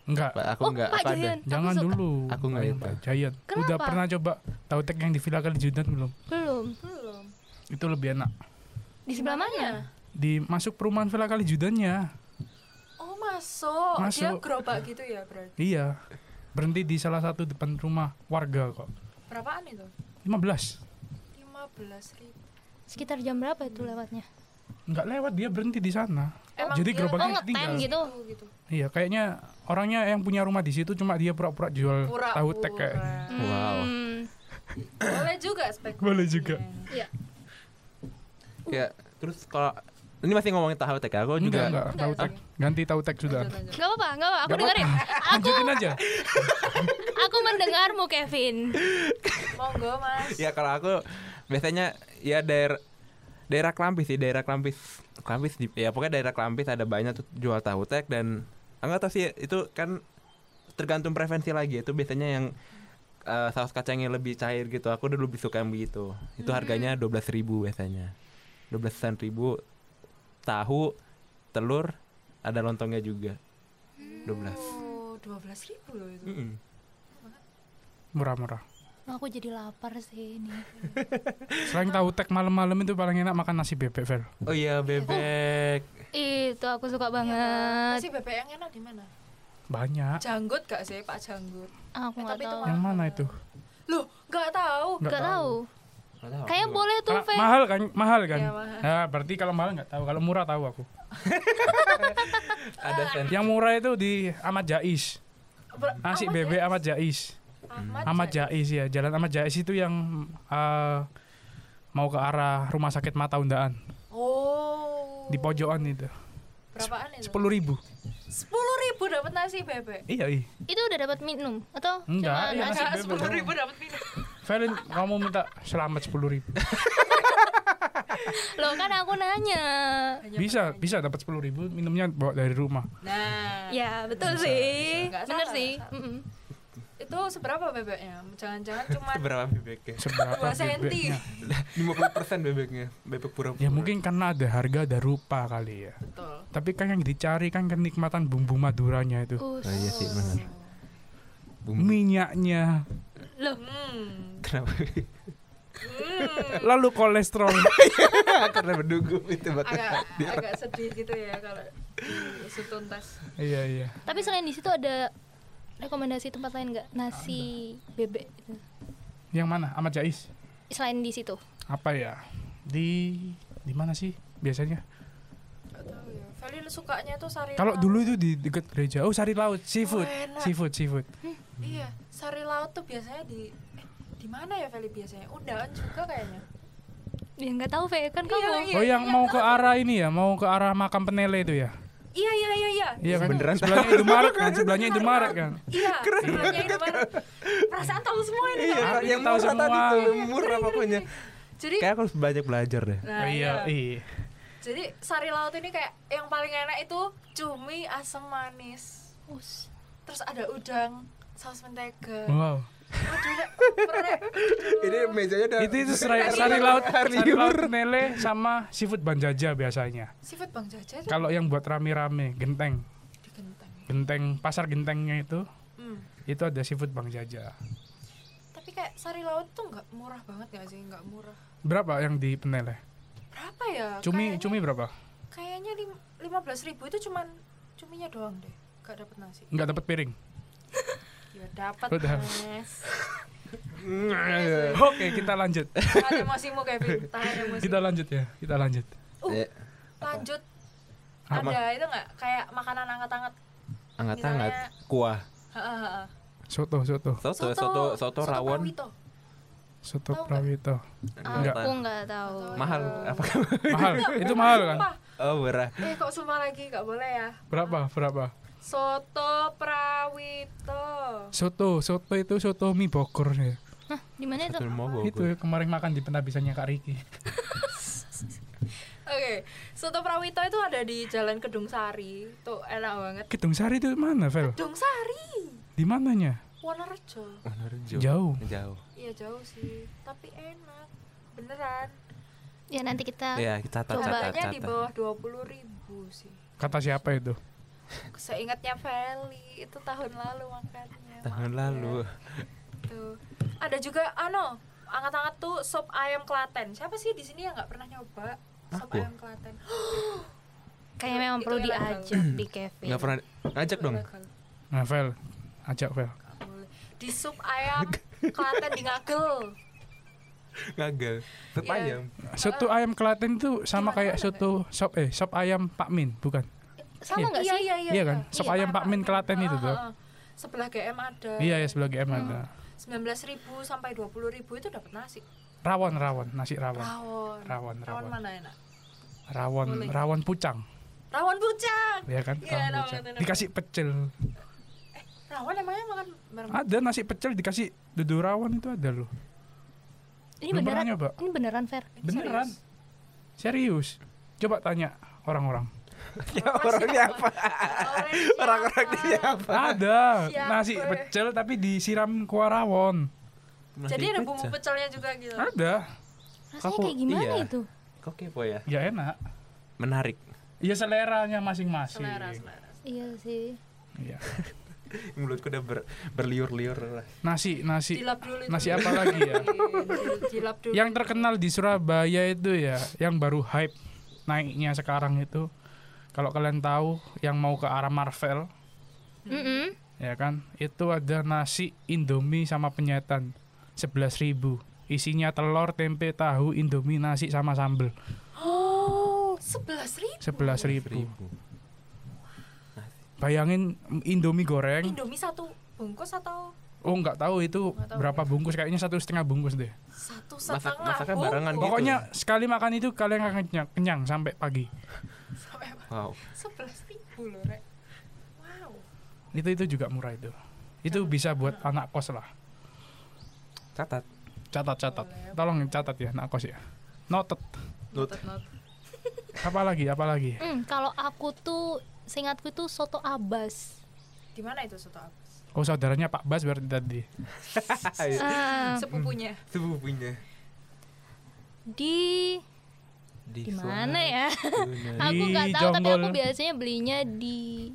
Speaker 3: Enggak.
Speaker 2: Pak, Aku
Speaker 4: oh
Speaker 2: enggak.
Speaker 4: Pak
Speaker 2: apa ada?
Speaker 4: Jayan aku
Speaker 3: Jangan
Speaker 4: suka.
Speaker 3: dulu.
Speaker 2: Aku nggak
Speaker 3: Ayam
Speaker 2: itu.
Speaker 3: Pak Jayan. Udah
Speaker 4: Kenapa?
Speaker 3: pernah coba tahu tek yang di Villa Kalijudan belum?
Speaker 4: belum
Speaker 1: Belum.
Speaker 3: Itu lebih enak.
Speaker 4: di sebelah mana
Speaker 3: Di masuk perumahan Villa Kalijudannya.
Speaker 1: Oh, masuk. Dia
Speaker 3: Masuk.
Speaker 1: gerobak gitu ya, berarti.
Speaker 3: Iya. Berhenti di salah satu depan rumah warga kok.
Speaker 1: Berapaan itu?
Speaker 3: 15.
Speaker 1: 15 ribu.
Speaker 4: sekitar jam berapa itu lewatnya
Speaker 3: Nggak lewat dia berhenti di sana.
Speaker 1: Emang dia-
Speaker 3: Jadi
Speaker 4: oh
Speaker 3: gerobaknya
Speaker 4: ngetem
Speaker 3: tinggal.
Speaker 4: gitu
Speaker 1: gitu.
Speaker 3: Iya, kayaknya orangnya yang punya rumah di situ cuma dia pura-pura jual tahu tek
Speaker 1: Pura-pura.
Speaker 3: kayak.
Speaker 2: Wow.
Speaker 4: Hmm.
Speaker 1: Boleh juga spek.
Speaker 3: Boleh juga.
Speaker 4: Iya.
Speaker 2: Ya, terus kalau ini masih ngomongin tahu tek ya, aku
Speaker 3: Enggak,
Speaker 2: juga
Speaker 3: enggak, tahu tek. Ganti tahu tek sudah.
Speaker 1: Lanjut, lanjut.
Speaker 4: Gak apa-apa, gak apa-apa. Aku
Speaker 3: Nggak
Speaker 4: dengerin. Aku
Speaker 3: Lanjutin aja.
Speaker 4: aku mendengarmu Kevin.
Speaker 1: Monggo, Mas.
Speaker 2: Ya kalau aku biasanya ya daerah daerah Klampis sih, daerah Klampis. Klampis di, ya pokoknya daerah Klampis ada banyak tuh jual tahu tek dan enggak tahu sih itu kan tergantung preferensi lagi itu biasanya yang eh, saus kacangnya lebih cair gitu. Aku dulu lebih suka yang begitu. Itu harganya 12.000 biasanya. 12.000 tahu, telur, ada lontongnya juga. 12.
Speaker 1: Oh, 12 ribu loh itu.
Speaker 2: Mm-mm.
Speaker 3: Murah-murah.
Speaker 4: Aku jadi lapar sih ini.
Speaker 3: Selain tahu tek malam-malam itu paling enak makan nasi bebek, Vel.
Speaker 2: Oh iya bebek.
Speaker 4: Itu aku suka
Speaker 1: Nasi
Speaker 4: banget.
Speaker 1: bebek yang enak di mana?
Speaker 3: Banyak.
Speaker 1: Janggut gak sih, Pak Janggut?
Speaker 4: Aku
Speaker 1: Eh,
Speaker 4: nggak
Speaker 1: tapi itu
Speaker 4: tahu.
Speaker 1: mahal.
Speaker 3: Yang mana itu?
Speaker 1: Loh, nggak tahu.
Speaker 3: Nggak
Speaker 2: Nggak
Speaker 4: Nggak tahu.
Speaker 2: tahu,
Speaker 4: Oh. Kayak
Speaker 2: aku juga.
Speaker 4: boleh tuh,
Speaker 3: Kalau
Speaker 4: Fe.
Speaker 3: mahal kan, mahal kan.
Speaker 1: Iya, mahal.
Speaker 3: Nah, berarti kalau mahal nggak tahu. Kalau murah tahu aku.
Speaker 2: ada sen.
Speaker 3: Yang murah itu di Ahmad Jais.
Speaker 1: Ber-
Speaker 3: Nasi
Speaker 1: Ahmad
Speaker 3: Ah, bebek
Speaker 1: ya?
Speaker 3: Ahmad Jais.
Speaker 1: Ahmad,
Speaker 3: Ahmad
Speaker 1: Jai.
Speaker 3: Jais ya, Jalan Ahmad Jais itu yang eh, mau ke arah rumah sakit Mata Undaan
Speaker 1: Oh.
Speaker 3: di pojokan itu.
Speaker 1: Berapaan itu?
Speaker 3: Sepuluh ribu.
Speaker 1: Sepuluh ribu dapat nasi bebek.
Speaker 3: Iya, iya.
Speaker 4: Itu udah dapat minum atau
Speaker 3: Enggak, iya,
Speaker 4: cuma
Speaker 3: nasi
Speaker 4: nasi?
Speaker 3: bebek.
Speaker 1: Sepuluh ribu dapat minum.
Speaker 3: Valen, kamu minta selamat sepuluh ribu.
Speaker 4: Loh kan aku nanya.
Speaker 1: Hanya
Speaker 3: Bisa,
Speaker 1: pertanyaan.
Speaker 3: bisa dapat sepuluh ribu. Minumnya bawa dari rumah.
Speaker 1: Nah,
Speaker 4: Ya, betul sih.
Speaker 1: Nggak
Speaker 4: Bener
Speaker 1: salah,
Speaker 4: sih.
Speaker 1: nggak salah.
Speaker 4: Mm-mm.
Speaker 1: itu seberapa bebeknya? Jangan-jangan cuma
Speaker 2: Berapa bebeknya?
Speaker 3: Seberapa
Speaker 1: dua senti.
Speaker 3: bebeknya?
Speaker 2: 50% bebeknya, bebek pura-pura.
Speaker 3: Ya mungkin karena ada harga, ada rupa kali ya.
Speaker 1: Betul.
Speaker 3: Tapi kan yang dicari kan kenikmatan bumbu maduranya itu.
Speaker 4: Us.
Speaker 2: Oh iya sih benar. Bumi
Speaker 3: Minyaknya,
Speaker 4: Loh,
Speaker 1: Hmm.
Speaker 2: kenapa?
Speaker 3: lalu kolesterol.
Speaker 2: Kan Karena mendukung itu bakal.
Speaker 1: Agak agak sedih gitu ya kalau di- setuntas.
Speaker 3: iya, iya.
Speaker 4: tapi selain di situ ada rekomendasi tempat lain nggak? Nasi bebek itu.
Speaker 3: Yang mana? Ahmad Jais.
Speaker 4: Selain di situ.
Speaker 3: Apa ya? Di di mana sih biasanya?
Speaker 1: Nggak tahu ya. Feli sukanya tuh sari
Speaker 3: Kalau
Speaker 1: laut.
Speaker 3: dulu itu di dekat gereja. Oh, sari laut, seafood.
Speaker 1: Oh, enak.
Speaker 3: seafood, seafood.
Speaker 1: Iya, sari laut tuh biasanya di eh, di mana ya Feli biasanya? Undangan juga kayaknya.
Speaker 4: Ya nggak tahu, Fe. Kan
Speaker 1: Iya,
Speaker 4: kamu.
Speaker 1: iya.
Speaker 3: Oh, yang mau ke arah ini ya, mau ke arah makam penele itu ya.
Speaker 1: Iya, iya, iya, iya.
Speaker 3: Iya kan?
Speaker 2: Beneran
Speaker 3: sebelahnya Indomaret kan, sebelahnya Indomaret kan.
Speaker 1: Nah, Iya, sebelahnya itu baru. Perasaan tahu semua ini.
Speaker 2: Iya,
Speaker 1: Kak.
Speaker 3: Tapi
Speaker 2: yang
Speaker 3: tahu
Speaker 2: murah tadi
Speaker 3: semua.
Speaker 2: tuh, yang murah ya. pokoknya.
Speaker 1: Jadi
Speaker 2: Kayak aku harus banyak belajar deh.
Speaker 1: Nah,
Speaker 3: iya, iya.
Speaker 1: Jadi sari laut ini kayak yang paling enak itu cumi asam manis.
Speaker 4: Us.
Speaker 3: Oh.
Speaker 1: Terus ada udang, saus mentega.
Speaker 3: Wow.
Speaker 1: Aduh, Rek, Rek,
Speaker 2: Ini mejanya udah
Speaker 3: itu itu serai, sari laut sari laut nele sama seafood banjaja biasanya
Speaker 1: Sifat Bang Jaja itu
Speaker 3: kalau yang buat rame-rame genteng
Speaker 1: di genteng.
Speaker 3: ya? genteng pasar gentengnya itu
Speaker 1: Hmm.
Speaker 3: itu ada seafood bang jaja
Speaker 1: Tapi kayak sari laut tuh nggak murah banget ya sih, nggak murah.
Speaker 3: berapa yang di peneleh
Speaker 1: Berapa ya?
Speaker 3: cumi
Speaker 1: Kayaknya-
Speaker 3: cumi berapa
Speaker 1: Kayaknya lima belas ribu itu cuman cuminya doang deh, nggak dapet nasi.
Speaker 3: nggak dapat piring
Speaker 1: Ya dapat.
Speaker 3: Udah.
Speaker 1: Mas.
Speaker 3: oke kita lanjut
Speaker 1: Tahan emosimu Kevin, tahan emosi.
Speaker 3: kita lanjut ya kita lanjut
Speaker 1: Uh,
Speaker 2: Eh,
Speaker 1: lanjut.
Speaker 2: Apa?
Speaker 1: Ada itu nggak kayak makanan hangat-hangat?
Speaker 2: Angat-angat
Speaker 1: Misalnya-
Speaker 2: Kuah
Speaker 1: Hahaha.
Speaker 3: soto soto
Speaker 2: Soto Soto Soto rawon
Speaker 1: prawito.
Speaker 3: soto
Speaker 1: Tahu nggak?
Speaker 3: prawito Enggak.
Speaker 4: aku nggak tahu
Speaker 2: Mahal Apakah
Speaker 3: mahal itu mahal kan
Speaker 1: Sumpah.
Speaker 2: Oh murah
Speaker 1: Eh kok sumpah lagi nggak boleh ya?
Speaker 3: berapa berapa
Speaker 1: Soto prawito.
Speaker 3: soto soto itu soto mie bogor ya
Speaker 4: Hah, di mana itu
Speaker 2: Betul mau
Speaker 3: itu
Speaker 2: Bogor.
Speaker 3: kemarin makan di penabisannya kak Riki
Speaker 1: Oke, soto prawito itu ada di Jalan Kedung Sari. Tuh enak banget.
Speaker 3: Kedung Sari itu mana Vel
Speaker 1: Kedung Sari,
Speaker 3: di mananya
Speaker 1: Wonorejo.
Speaker 2: Wonorejo.
Speaker 3: jauh
Speaker 2: Jauh
Speaker 1: Iya jauh sih, tapi enak. Beneran.
Speaker 4: ya nanti kita
Speaker 2: Iya kita catat catat
Speaker 1: Harganya Nah, di
Speaker 2: catat
Speaker 1: bawah 20.000 ribu sih.
Speaker 3: kata siapa itu
Speaker 1: Seingatnya Feli itu tahun lalu makannya.
Speaker 2: Tahun lalu
Speaker 1: Iya. Tuh. Ada juga ano, angat-angat tuh sop ayam Klaten. Siapa sih di sini yang nggak pernah nyoba sop
Speaker 2: Aku.
Speaker 1: ayam Klaten?
Speaker 4: kayaknya memang
Speaker 1: Itu
Speaker 4: perlu
Speaker 1: ilegal.
Speaker 4: diajak di Kevin
Speaker 2: Nggak pernah Ngajak dong
Speaker 1: Legal,
Speaker 3: nah Vel ajak Vel
Speaker 1: nggak boleh. Di sup ayam Klaten di Ngagel.
Speaker 2: Ngagel Tetap
Speaker 1: Iya.
Speaker 2: ayam
Speaker 3: soto ayam Klaten itu sama
Speaker 1: Gimana,
Speaker 3: kayak
Speaker 1: ada
Speaker 3: soto sop eh sop ayam Pak Min bukan
Speaker 4: sama nggak sih
Speaker 1: iya,
Speaker 3: Iya kan? Sop ayam Pak Min Klaten itu tuh.
Speaker 1: Heeh. Sebelah GM ada.
Speaker 3: iya ya sebelah GM ada
Speaker 1: 19.000 sampai 20.000 itu dapat nasi.
Speaker 3: rawon rawon nasi rawon
Speaker 1: Rawon.
Speaker 3: Rawon, rawon.
Speaker 1: mana enak?
Speaker 3: rawon
Speaker 1: Boleh.
Speaker 3: rawon pucang
Speaker 1: Rawon pucang.
Speaker 3: ya kan
Speaker 1: Iya,
Speaker 3: rawon
Speaker 1: rawon,
Speaker 3: pucang
Speaker 1: rawon.
Speaker 3: dikasih pecel
Speaker 1: Rawon emangnya makan bareng
Speaker 3: ada nasi pecel dikasih dudu rawon itu ada loh
Speaker 4: ini
Speaker 3: Belum
Speaker 4: beneran
Speaker 3: pernah nyoba.
Speaker 4: ini beneran fair
Speaker 1: Ini
Speaker 3: beneran
Speaker 1: serius.
Speaker 3: serius coba tanya orang-orang
Speaker 1: Iya.
Speaker 2: Ya orangnya apa
Speaker 3: iya.
Speaker 2: Orang-orangnya apa
Speaker 3: ada
Speaker 1: Siapa?
Speaker 3: nasi pecel tapi disiram kuah rawon
Speaker 1: Jadi ada bumbu pecelnya juga gitu.
Speaker 3: ada
Speaker 4: rasanya
Speaker 2: Aku-
Speaker 4: kayak gimana
Speaker 2: iya.
Speaker 4: itu
Speaker 2: Kok kepo ya
Speaker 3: ya enak
Speaker 2: Menarik
Speaker 3: ya seleranya masing-masing
Speaker 1: Selera, selera.
Speaker 4: iya sih
Speaker 3: Iya.
Speaker 2: Mulutku udah ber- berliur-liur
Speaker 3: nasi nasi
Speaker 1: Dilap dulu itu.
Speaker 3: nasi apa lagi ya
Speaker 1: Di- Dilap dulu.
Speaker 3: yang terkenal di Surabaya itu ya yang baru hype naiknya sekarang itu kalau kalian tahu yang mau ke arah Marvel
Speaker 4: Mm-mm.
Speaker 3: ya kan itu ada nasi Indomie sama penyetan 11.000 isinya telur tempe tahu Indomie nasi sama sambel
Speaker 1: Oh, 11 ribu.
Speaker 3: 11.000 bayangin Indomie goreng
Speaker 1: Indomie satu bungkus atau
Speaker 3: oh nggak tahu itu
Speaker 1: Nggak tahu.
Speaker 3: berapa bungkus kayaknya satu setengah bungkus deh
Speaker 1: satu
Speaker 2: Masak-
Speaker 1: setengah Oh,
Speaker 2: masaknya
Speaker 1: bungkus?
Speaker 2: barengan gitu.
Speaker 3: pokoknya sekali makan itu kalian akan kenyang, kenyang sampai pagi
Speaker 1: Sampai apa?
Speaker 2: Wow
Speaker 1: 11 ribu loh, Rek. Wow.
Speaker 3: itu itu juga murah itu itu bisa buat anak kos lah
Speaker 2: Catat
Speaker 3: catat catat tolong catat ya anak kos ya noted
Speaker 2: Nut
Speaker 1: Not-
Speaker 3: apalagi apalagi
Speaker 4: Hmm, kalau aku tuh seingatku tuh soto abas
Speaker 1: Di mana itu soto abas?
Speaker 3: oh saudaranya Pak Bas berarti tadi
Speaker 4: Ah,
Speaker 1: Sepupunya.
Speaker 2: Sebubunya
Speaker 4: di di mana ya aku nggak tahu tapi
Speaker 3: Jonggol.
Speaker 4: aku biasanya belinya di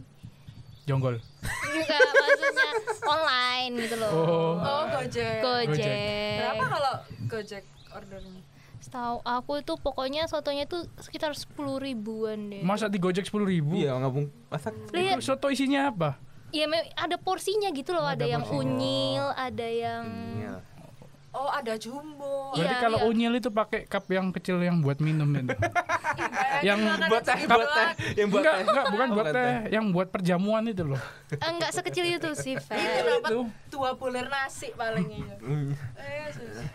Speaker 3: jonggol
Speaker 4: enggak maksudnya online gitu loh
Speaker 3: oh
Speaker 1: Oh, Gojek.
Speaker 4: Gojek.
Speaker 1: Berapa kalau Gojek ordernya?
Speaker 4: Setahu aku itu pokoknya sotonya itu sekitar 10 ribuan deh.
Speaker 3: masa di gojek sepuluh ribu
Speaker 2: Iya ngabung Masak
Speaker 4: Lihat,
Speaker 3: soto isinya apa
Speaker 4: ya me- ada porsinya gitu loh,
Speaker 3: Ada
Speaker 4: ada, yang
Speaker 3: porsinya.
Speaker 4: unyil, ada yang
Speaker 2: Iya.
Speaker 1: Oh, ada jumbo.
Speaker 4: Iya,
Speaker 3: berarti kalau
Speaker 4: iya.
Speaker 3: unyil itu pakai cup yang kecil yang buat minum itu
Speaker 1: kan?
Speaker 3: Yang
Speaker 2: buat
Speaker 1: gitu
Speaker 2: teh buat teh yang buat
Speaker 3: enggak
Speaker 2: teh
Speaker 3: enggak bukan
Speaker 2: Oh,
Speaker 3: buat teh yang buat perjamuan itu loh
Speaker 4: enggak Eh, sekecil itu sih, Fer.
Speaker 1: Dapat
Speaker 3: Itu.
Speaker 1: dua bulir nasi paling iya. Eh,
Speaker 2: Hmm.
Speaker 1: sus.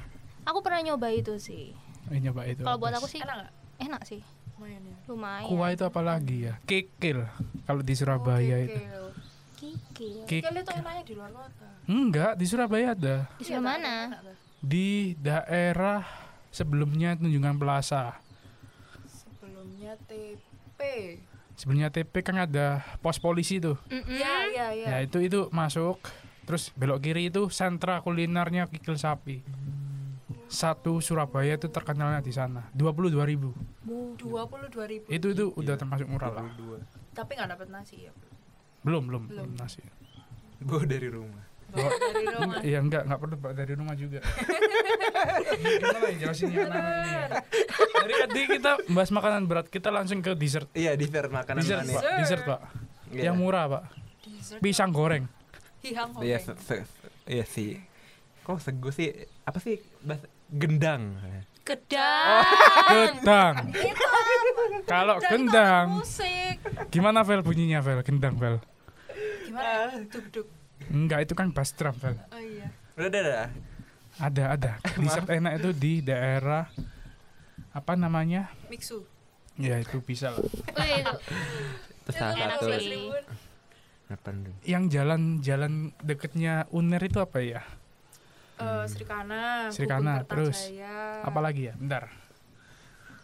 Speaker 4: Aku pernah nyoba itu sih.
Speaker 3: Eh, nyoba itu
Speaker 4: Kalau buat aku sih
Speaker 1: Enak nggak?
Speaker 4: enak sih,
Speaker 1: Lumayan ya.
Speaker 4: lumayan.
Speaker 3: kuah itu apalagi ya kikil kalau di Surabaya Oh, iya, itu
Speaker 4: Oh, Kikil.
Speaker 3: Kik-
Speaker 1: Kali itu enaknya di luar kota. Iya,
Speaker 3: enggak di Surabaya ada
Speaker 4: Di sebelah mana?
Speaker 1: Enak tuh.
Speaker 3: di daerah sebelumnya Tunjungan Plaza
Speaker 1: Sebelumnya TP.
Speaker 3: sebelumnya TP kan ada pos polisi tuh
Speaker 4: Mm-mm.
Speaker 1: Iya, iya, iya.
Speaker 3: ya itu itu masuk terus belok kiri itu sentra kulinernya kikil sapi satu Surabaya itu terkenalnya di sana 22.000 ribu
Speaker 1: dua puluh dua ribu
Speaker 3: itu itu
Speaker 2: Iya.
Speaker 3: udah termasuk murah lah
Speaker 1: tapi nggak dapat nasi ya
Speaker 3: belum belum
Speaker 1: Belum.
Speaker 3: belum nasi
Speaker 2: Gue dari rumah.
Speaker 1: bawa dari rumah
Speaker 3: iya enggak enggak perlu Pak, dari rumah juga gimana ya jelasin ya anak-anak ini? dari tadi kita bahas makanan berat kita langsung ke dessert
Speaker 2: Iya dessert makanan
Speaker 3: dessert
Speaker 2: manis.
Speaker 3: pak dessert pak
Speaker 2: Iya.
Speaker 3: yang murah pak
Speaker 1: Dessert.
Speaker 3: pisang goreng
Speaker 1: hihang hong
Speaker 2: Iya se- se- se- iya sih. Kok sego sih? Apa sih? bahas- Gendang.
Speaker 5: Kedai.
Speaker 3: gendang
Speaker 1: Iya.
Speaker 3: kalau gendang
Speaker 1: musik
Speaker 3: gimana Vel bunyinya Vel gendang Vel
Speaker 1: gimana duk duk
Speaker 3: enggak itu kan bass drum Vel
Speaker 1: oh iya
Speaker 2: Udah udah udah.
Speaker 3: ada ada dessert enak itu di daerah apa namanya
Speaker 1: mixu
Speaker 3: ya itu bisa lah
Speaker 4: Wih,
Speaker 2: Terus salah
Speaker 4: enak
Speaker 2: satu.
Speaker 4: sih.
Speaker 2: Apa dong?
Speaker 3: yang jalan-jalan deketnya Uner itu apa ya
Speaker 1: Eh, Srikana,
Speaker 3: Srikana,
Speaker 1: Gubeng
Speaker 3: terus.
Speaker 1: Kertajaya.
Speaker 3: apalagi ya bentar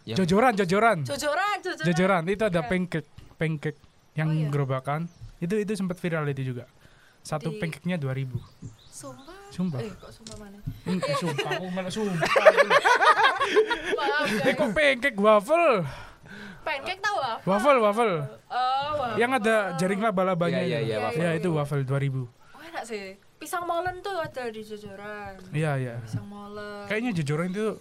Speaker 2: Yang-
Speaker 3: jojoran jojoran
Speaker 1: Jojoran, jojoran.
Speaker 3: jojoran itu ada
Speaker 1: Iya.
Speaker 3: pancake pancake yang
Speaker 1: Oh, iya.
Speaker 3: gerobakan itu itu sempat viral itu juga satu
Speaker 1: Di-
Speaker 3: pancake-nya 2000
Speaker 1: Sumpah.
Speaker 3: Sumpah.
Speaker 1: Eh, kok sumpah mana?
Speaker 3: Hmm, sumpah aku malah sumpah
Speaker 1: Maaf,
Speaker 3: eh
Speaker 1: guys.
Speaker 3: kok pancake waffle
Speaker 1: Pancake Eh, tahu apa?
Speaker 3: waffle waffle
Speaker 1: Oh, wah.
Speaker 3: yang ada jaring
Speaker 2: Iya,
Speaker 3: laba-labanya
Speaker 2: iya,
Speaker 3: itu.
Speaker 2: iya,
Speaker 1: waffle.
Speaker 3: ya itu waffle 2000
Speaker 1: Oh, enak sih. Pisang molen tuh ada di Jojoran.
Speaker 3: iya iya
Speaker 1: Pisang molen.
Speaker 3: kayaknya jojoran itu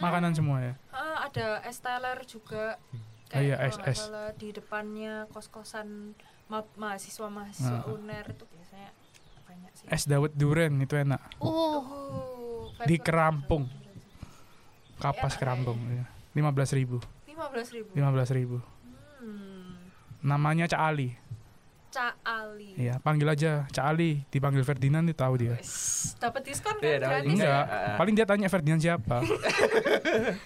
Speaker 3: makanan
Speaker 2: Hmm.
Speaker 3: semua ya
Speaker 1: Eh, ada es teler juga.
Speaker 3: Oh, iya,
Speaker 1: kalau
Speaker 3: es-
Speaker 1: nggak
Speaker 3: es.
Speaker 1: salah di depannya kos-kosan ma- mahasiswa-mahasiswa
Speaker 3: Ah.
Speaker 1: UNER itu biasanya banyak sih.
Speaker 3: es dawet duren itu enak
Speaker 4: Uh,
Speaker 1: Oh,
Speaker 3: di kerampung kapas kerampung ya. 15 ribu
Speaker 1: 15.000.
Speaker 3: 15 ribu
Speaker 1: Hmm.
Speaker 3: namanya Cak Ali
Speaker 1: Cak Ali.
Speaker 3: Iya, panggil aja Cak Ali, dipanggil Ferdinand dia tahu dia.
Speaker 1: Wes, Dapat diskon kan
Speaker 2: Iya, dapat
Speaker 1: gratis.
Speaker 2: diskon.
Speaker 3: Enggak,
Speaker 2: Iya.
Speaker 3: paling dia tanya Ferdinand siapa.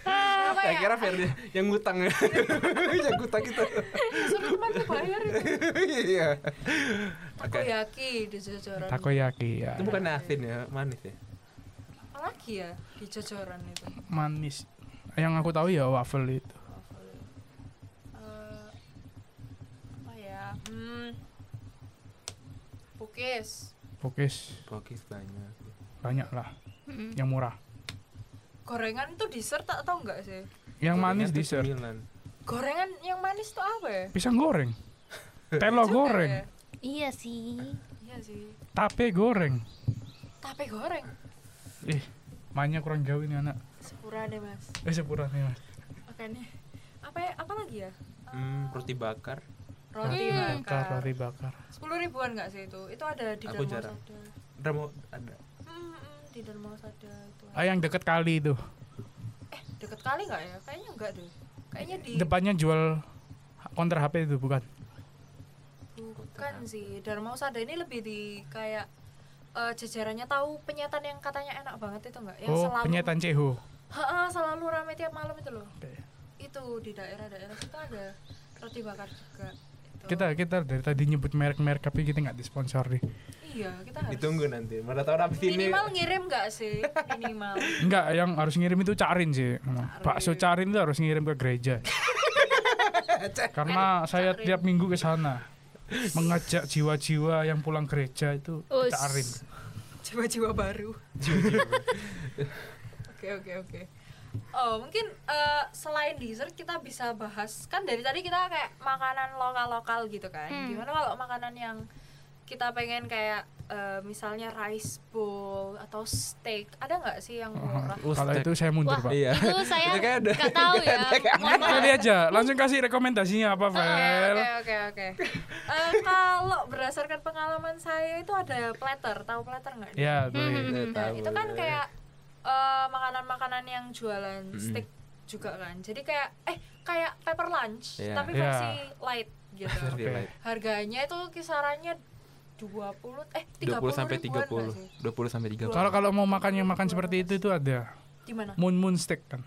Speaker 1: Apa
Speaker 2: Saya
Speaker 1: ya?
Speaker 2: kira Ferdi yang ngutang ya. yang ngutang itu.
Speaker 1: Suruh teman tuh bayar itu.
Speaker 2: Iya.
Speaker 1: Aku
Speaker 2: Oke.
Speaker 1: yaki di Jojoran.
Speaker 3: Takoyaki ya.
Speaker 2: Itu bukan asin ya, manis ya.
Speaker 1: Apalagi ya di Jojoran itu.
Speaker 3: manis. Yang aku tahu ya waffle itu.
Speaker 1: Eh, apa ya? Hmm. Pukis.
Speaker 3: Pokis
Speaker 2: Pokis banyak.
Speaker 3: banyak lah
Speaker 2: Hmm.
Speaker 3: yang murah.
Speaker 1: Gorengan tuh dessert tak tau nggak sih?
Speaker 3: Yang manis
Speaker 2: Gorengan tuh
Speaker 3: dessert.
Speaker 2: cemilan.
Speaker 1: Gorengan yang manis tuh apa ya?
Speaker 3: Pisang goreng.
Speaker 1: Juga ya?
Speaker 3: Telo Oh, goreng,
Speaker 4: iya sih.
Speaker 1: Iya sih.
Speaker 3: tape goreng.
Speaker 1: Tape goreng.
Speaker 3: Ih, mainnya kurang jauh ini anak.
Speaker 1: Sepura deh mas.
Speaker 3: Eh sepura nih mas.
Speaker 1: Makanya. Apa ya? Apa lagi ya?
Speaker 2: Hmm, roti bakar.
Speaker 1: Roti
Speaker 2: Hmm.
Speaker 3: Bakar,
Speaker 1: bakar.
Speaker 3: roti bakar.
Speaker 1: Sepuluh ribuan nggak sih itu? Itu ada di
Speaker 2: Aku
Speaker 1: Darmo
Speaker 2: jarang.
Speaker 1: Sada.
Speaker 2: Udah mau ada.
Speaker 1: Hmm, hmm, di Darmo Sada itu.
Speaker 3: Ah, yang deket kali itu.
Speaker 1: Eh, deket kali nggak ya? Kayaknya nggak deh. Kayaknya di
Speaker 3: Depannya jual konter HP itu bukan?
Speaker 1: bukan sih. Dharma Usada ini lebih di kayak eh, jajarannya tahu penyetan yang katanya enak banget itu nggak? Yang
Speaker 3: oh,
Speaker 1: selalu
Speaker 3: penyetan Ceho.
Speaker 1: Ha-ha, selalu rame tiap malam itu loh.
Speaker 3: Oke.
Speaker 1: Itu di daerah-daerah situ ada roti bakar juga. Itu.
Speaker 3: Kita kita dari tadi nyebut merek-merek tapi kita nggak disponsori.
Speaker 1: iya kita harus
Speaker 2: Ditunggu nanti. Mana tahu habis ini.
Speaker 1: minimal ngirim nggak sih minimal
Speaker 3: Enggak, yang harus ngirim itu Carin sih. Hmm. Bakso Carin itu harus ngirim ke gereja. Karena saya tiap minggu ke sana mengajak jiwa-jiwa yang pulang gereja itu ke
Speaker 4: Us.
Speaker 3: Carin.
Speaker 1: jiwa-jiwa baru. Oke oke oke. Oh mungkin eh, selain dessert kita bisa bahas kan dari tadi kita kayak makanan lokal lokal gitu kan.
Speaker 4: Hmm.
Speaker 1: Gimana kalau makanan yang kita pengen kayak eh, misalnya rice bowl atau steak ada nggak sih yang murah?
Speaker 3: Kalau itu saya mundur,
Speaker 4: Wah.
Speaker 3: Pak.
Speaker 2: Iya.
Speaker 4: Itu saya
Speaker 2: Itu kayak udah-
Speaker 4: nggak tahu ya. Mohon maaf.
Speaker 3: Kali aja, langsung kasih rekomendasinya apa,
Speaker 1: Oke,
Speaker 3: Vel?
Speaker 1: Ah, Oke oke oke. Eh, Kalau berdasarkan pengalaman saya itu ada platter, tahu platter nggak?
Speaker 3: Ya, boleh.
Speaker 2: Eh,
Speaker 1: Nah,
Speaker 2: tahu
Speaker 1: itu kan
Speaker 2: ya.
Speaker 1: kayak eh, makanan-makanan yang jualan
Speaker 2: Mm-mm.
Speaker 1: steak juga kan. Jadi kayak eh kayak pepper lunch
Speaker 2: Iya.
Speaker 1: tapi
Speaker 3: Iya.
Speaker 1: versi light gitu.
Speaker 2: Versi
Speaker 3: Oke.
Speaker 2: light.
Speaker 1: Harganya itu kisarannya 20 eh 30
Speaker 2: 20 sampai
Speaker 1: 30.
Speaker 2: 30. 20 sampai 30.
Speaker 3: Kalau kalau mau makan yang makan seperti itu itu ada
Speaker 1: Di mana?
Speaker 3: Moon Moon Steak kan.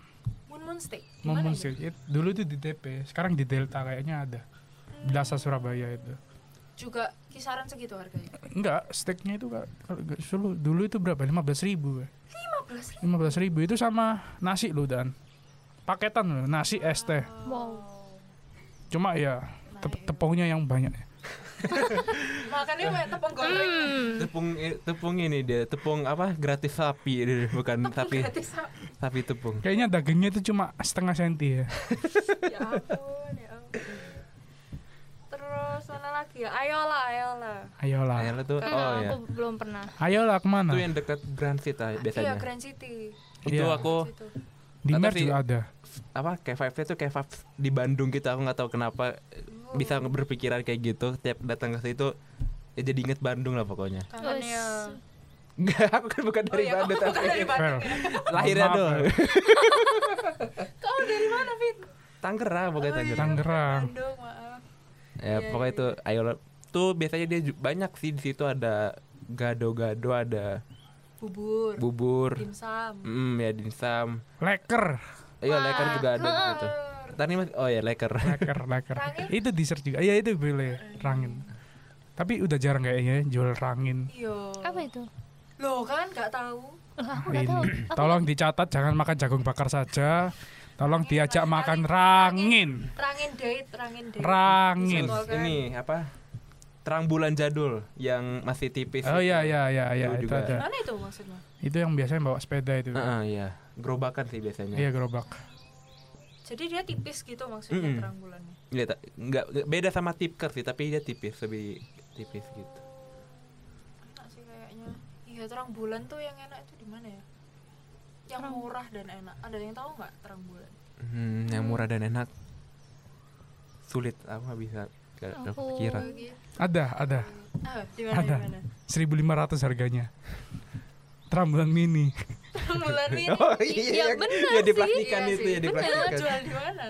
Speaker 1: Moon Moon steak. Di
Speaker 3: Moon
Speaker 1: mana
Speaker 3: Moon
Speaker 1: itu?
Speaker 3: Steak. It- Dulu itu di TP, sekarang di Delta kayaknya ada. Blasa Surabaya itu.
Speaker 1: Juga kisaran segitu harganya.
Speaker 3: Enggak, steaknya itu Kak, kalau nggak dulu, dulu itu berapa? 15 ribu
Speaker 1: 15
Speaker 3: 15 ribu itu sama nasi loh dan paketan loh, nasi es teh
Speaker 4: Wow.
Speaker 3: cuma ya tep- tepungnya yang banyak
Speaker 1: makannya
Speaker 2: Iya.
Speaker 1: kayak tepung goreng
Speaker 4: Hmm.
Speaker 2: tepung eh, tepung ini dia tepung apa gratis sapi dia, bukan sapi
Speaker 1: gratis sapi.
Speaker 2: sapi tepung
Speaker 3: Kayaknya dagingnya itu cuma setengah senti ya.
Speaker 1: ya ampun ya ampun terus mana lagi ya ayolah ayolah
Speaker 3: Ayolah.
Speaker 2: akhirnya tuh
Speaker 4: Karena
Speaker 2: oh ya
Speaker 4: aku belum pernah.
Speaker 3: Ayolah kemana?
Speaker 2: itu yang dekat Grand Fit ah,
Speaker 1: iya
Speaker 2: biasanya
Speaker 1: Grand City
Speaker 2: itu
Speaker 3: Iya.
Speaker 2: aku
Speaker 1: Situ.
Speaker 3: Di
Speaker 2: Atau
Speaker 3: Mer
Speaker 2: di-
Speaker 3: juga ada.
Speaker 2: apa kayak five itu kayak Five di Bandung gitu aku nggak tahu kenapa eh, bisa berpikiran kayak gitu tiap datang ke situ ya jadi inget Bandung lah pokoknya
Speaker 1: kangen ya
Speaker 2: Enggak, aku kan bukan
Speaker 1: oh
Speaker 2: dari
Speaker 1: iya kamu
Speaker 2: Bandung
Speaker 1: bukan
Speaker 2: tapi
Speaker 1: dari Bandung
Speaker 3: Fair.
Speaker 2: lahirnya
Speaker 3: Maaf,
Speaker 2: dong.
Speaker 1: kamu dari mana Fit
Speaker 2: Tangerang pokoknya
Speaker 1: Oh iya,
Speaker 2: Tangerang.
Speaker 3: Tangerang.
Speaker 1: Bandung maaf
Speaker 2: Ya pokoknya itu
Speaker 1: iya.
Speaker 2: ayo tuh biasanya dia ju- banyak sih di situ ada gado-gado, ada
Speaker 1: bubur
Speaker 2: bubur,
Speaker 1: dimsum
Speaker 2: mm, ya dimsum.
Speaker 3: Leker,
Speaker 2: Iya, leker juga ada gitu. Tadi mas, oh ya leker.
Speaker 3: leker, leker.
Speaker 1: Rangin?
Speaker 3: Itu dessert juga. Iya itu boleh rangin. Tapi udah jarang kayaknya ya, jual rangin.
Speaker 1: iya
Speaker 4: Apa itu?
Speaker 1: lo kan nggak tahu
Speaker 4: Lah, aku nggak
Speaker 3: Ini.
Speaker 4: tahu. Aku
Speaker 3: Tolong dicatat jangan makan jagung bakar saja. Tolong diajak makan rangin.
Speaker 1: terangin date terangin date
Speaker 3: Rangin.
Speaker 2: Terus ini apa? Terang bulan jadul yang masih tipis.
Speaker 3: Oh iya
Speaker 2: gitu.
Speaker 3: iya iya iya
Speaker 2: Itu
Speaker 3: itu
Speaker 2: juga.
Speaker 3: ada.
Speaker 1: mana itu maksudnya
Speaker 3: Itu yang biasanya bawa sepeda itu.
Speaker 2: Heeh, iya. Gerobakan sih biasanya.
Speaker 3: Iya gerobak.
Speaker 1: jadi dia tipis gitu maksudnya
Speaker 2: Mm-mm.
Speaker 1: terang bulannya
Speaker 2: Iya, ta- nggak nggak- beda sama tipker sih, tapi dia tipis lebih tipis gitu.
Speaker 1: enak sih kayaknya iya terang bulan tuh yang enak itu di mana ya yang murah dan enak ada yang tahu nggak terang bulan
Speaker 2: Hmm, yang murah dan enak. Sulit aku nggak bisa nggak nggak
Speaker 4: Aku- gitu.
Speaker 2: kepikiran.
Speaker 3: Ada, ada.
Speaker 1: ah di mana
Speaker 3: Ada.
Speaker 1: di mana
Speaker 3: 1500 harganya. Trambulan mini.
Speaker 1: terang bulan ini
Speaker 4: iya,
Speaker 2: yang-
Speaker 4: bener
Speaker 2: Oh, ya
Speaker 4: sih.
Speaker 2: diplastikan
Speaker 1: Iya
Speaker 2: itu
Speaker 1: sih,
Speaker 2: ya
Speaker 1: bener.
Speaker 2: diplastikan.
Speaker 1: jual di mana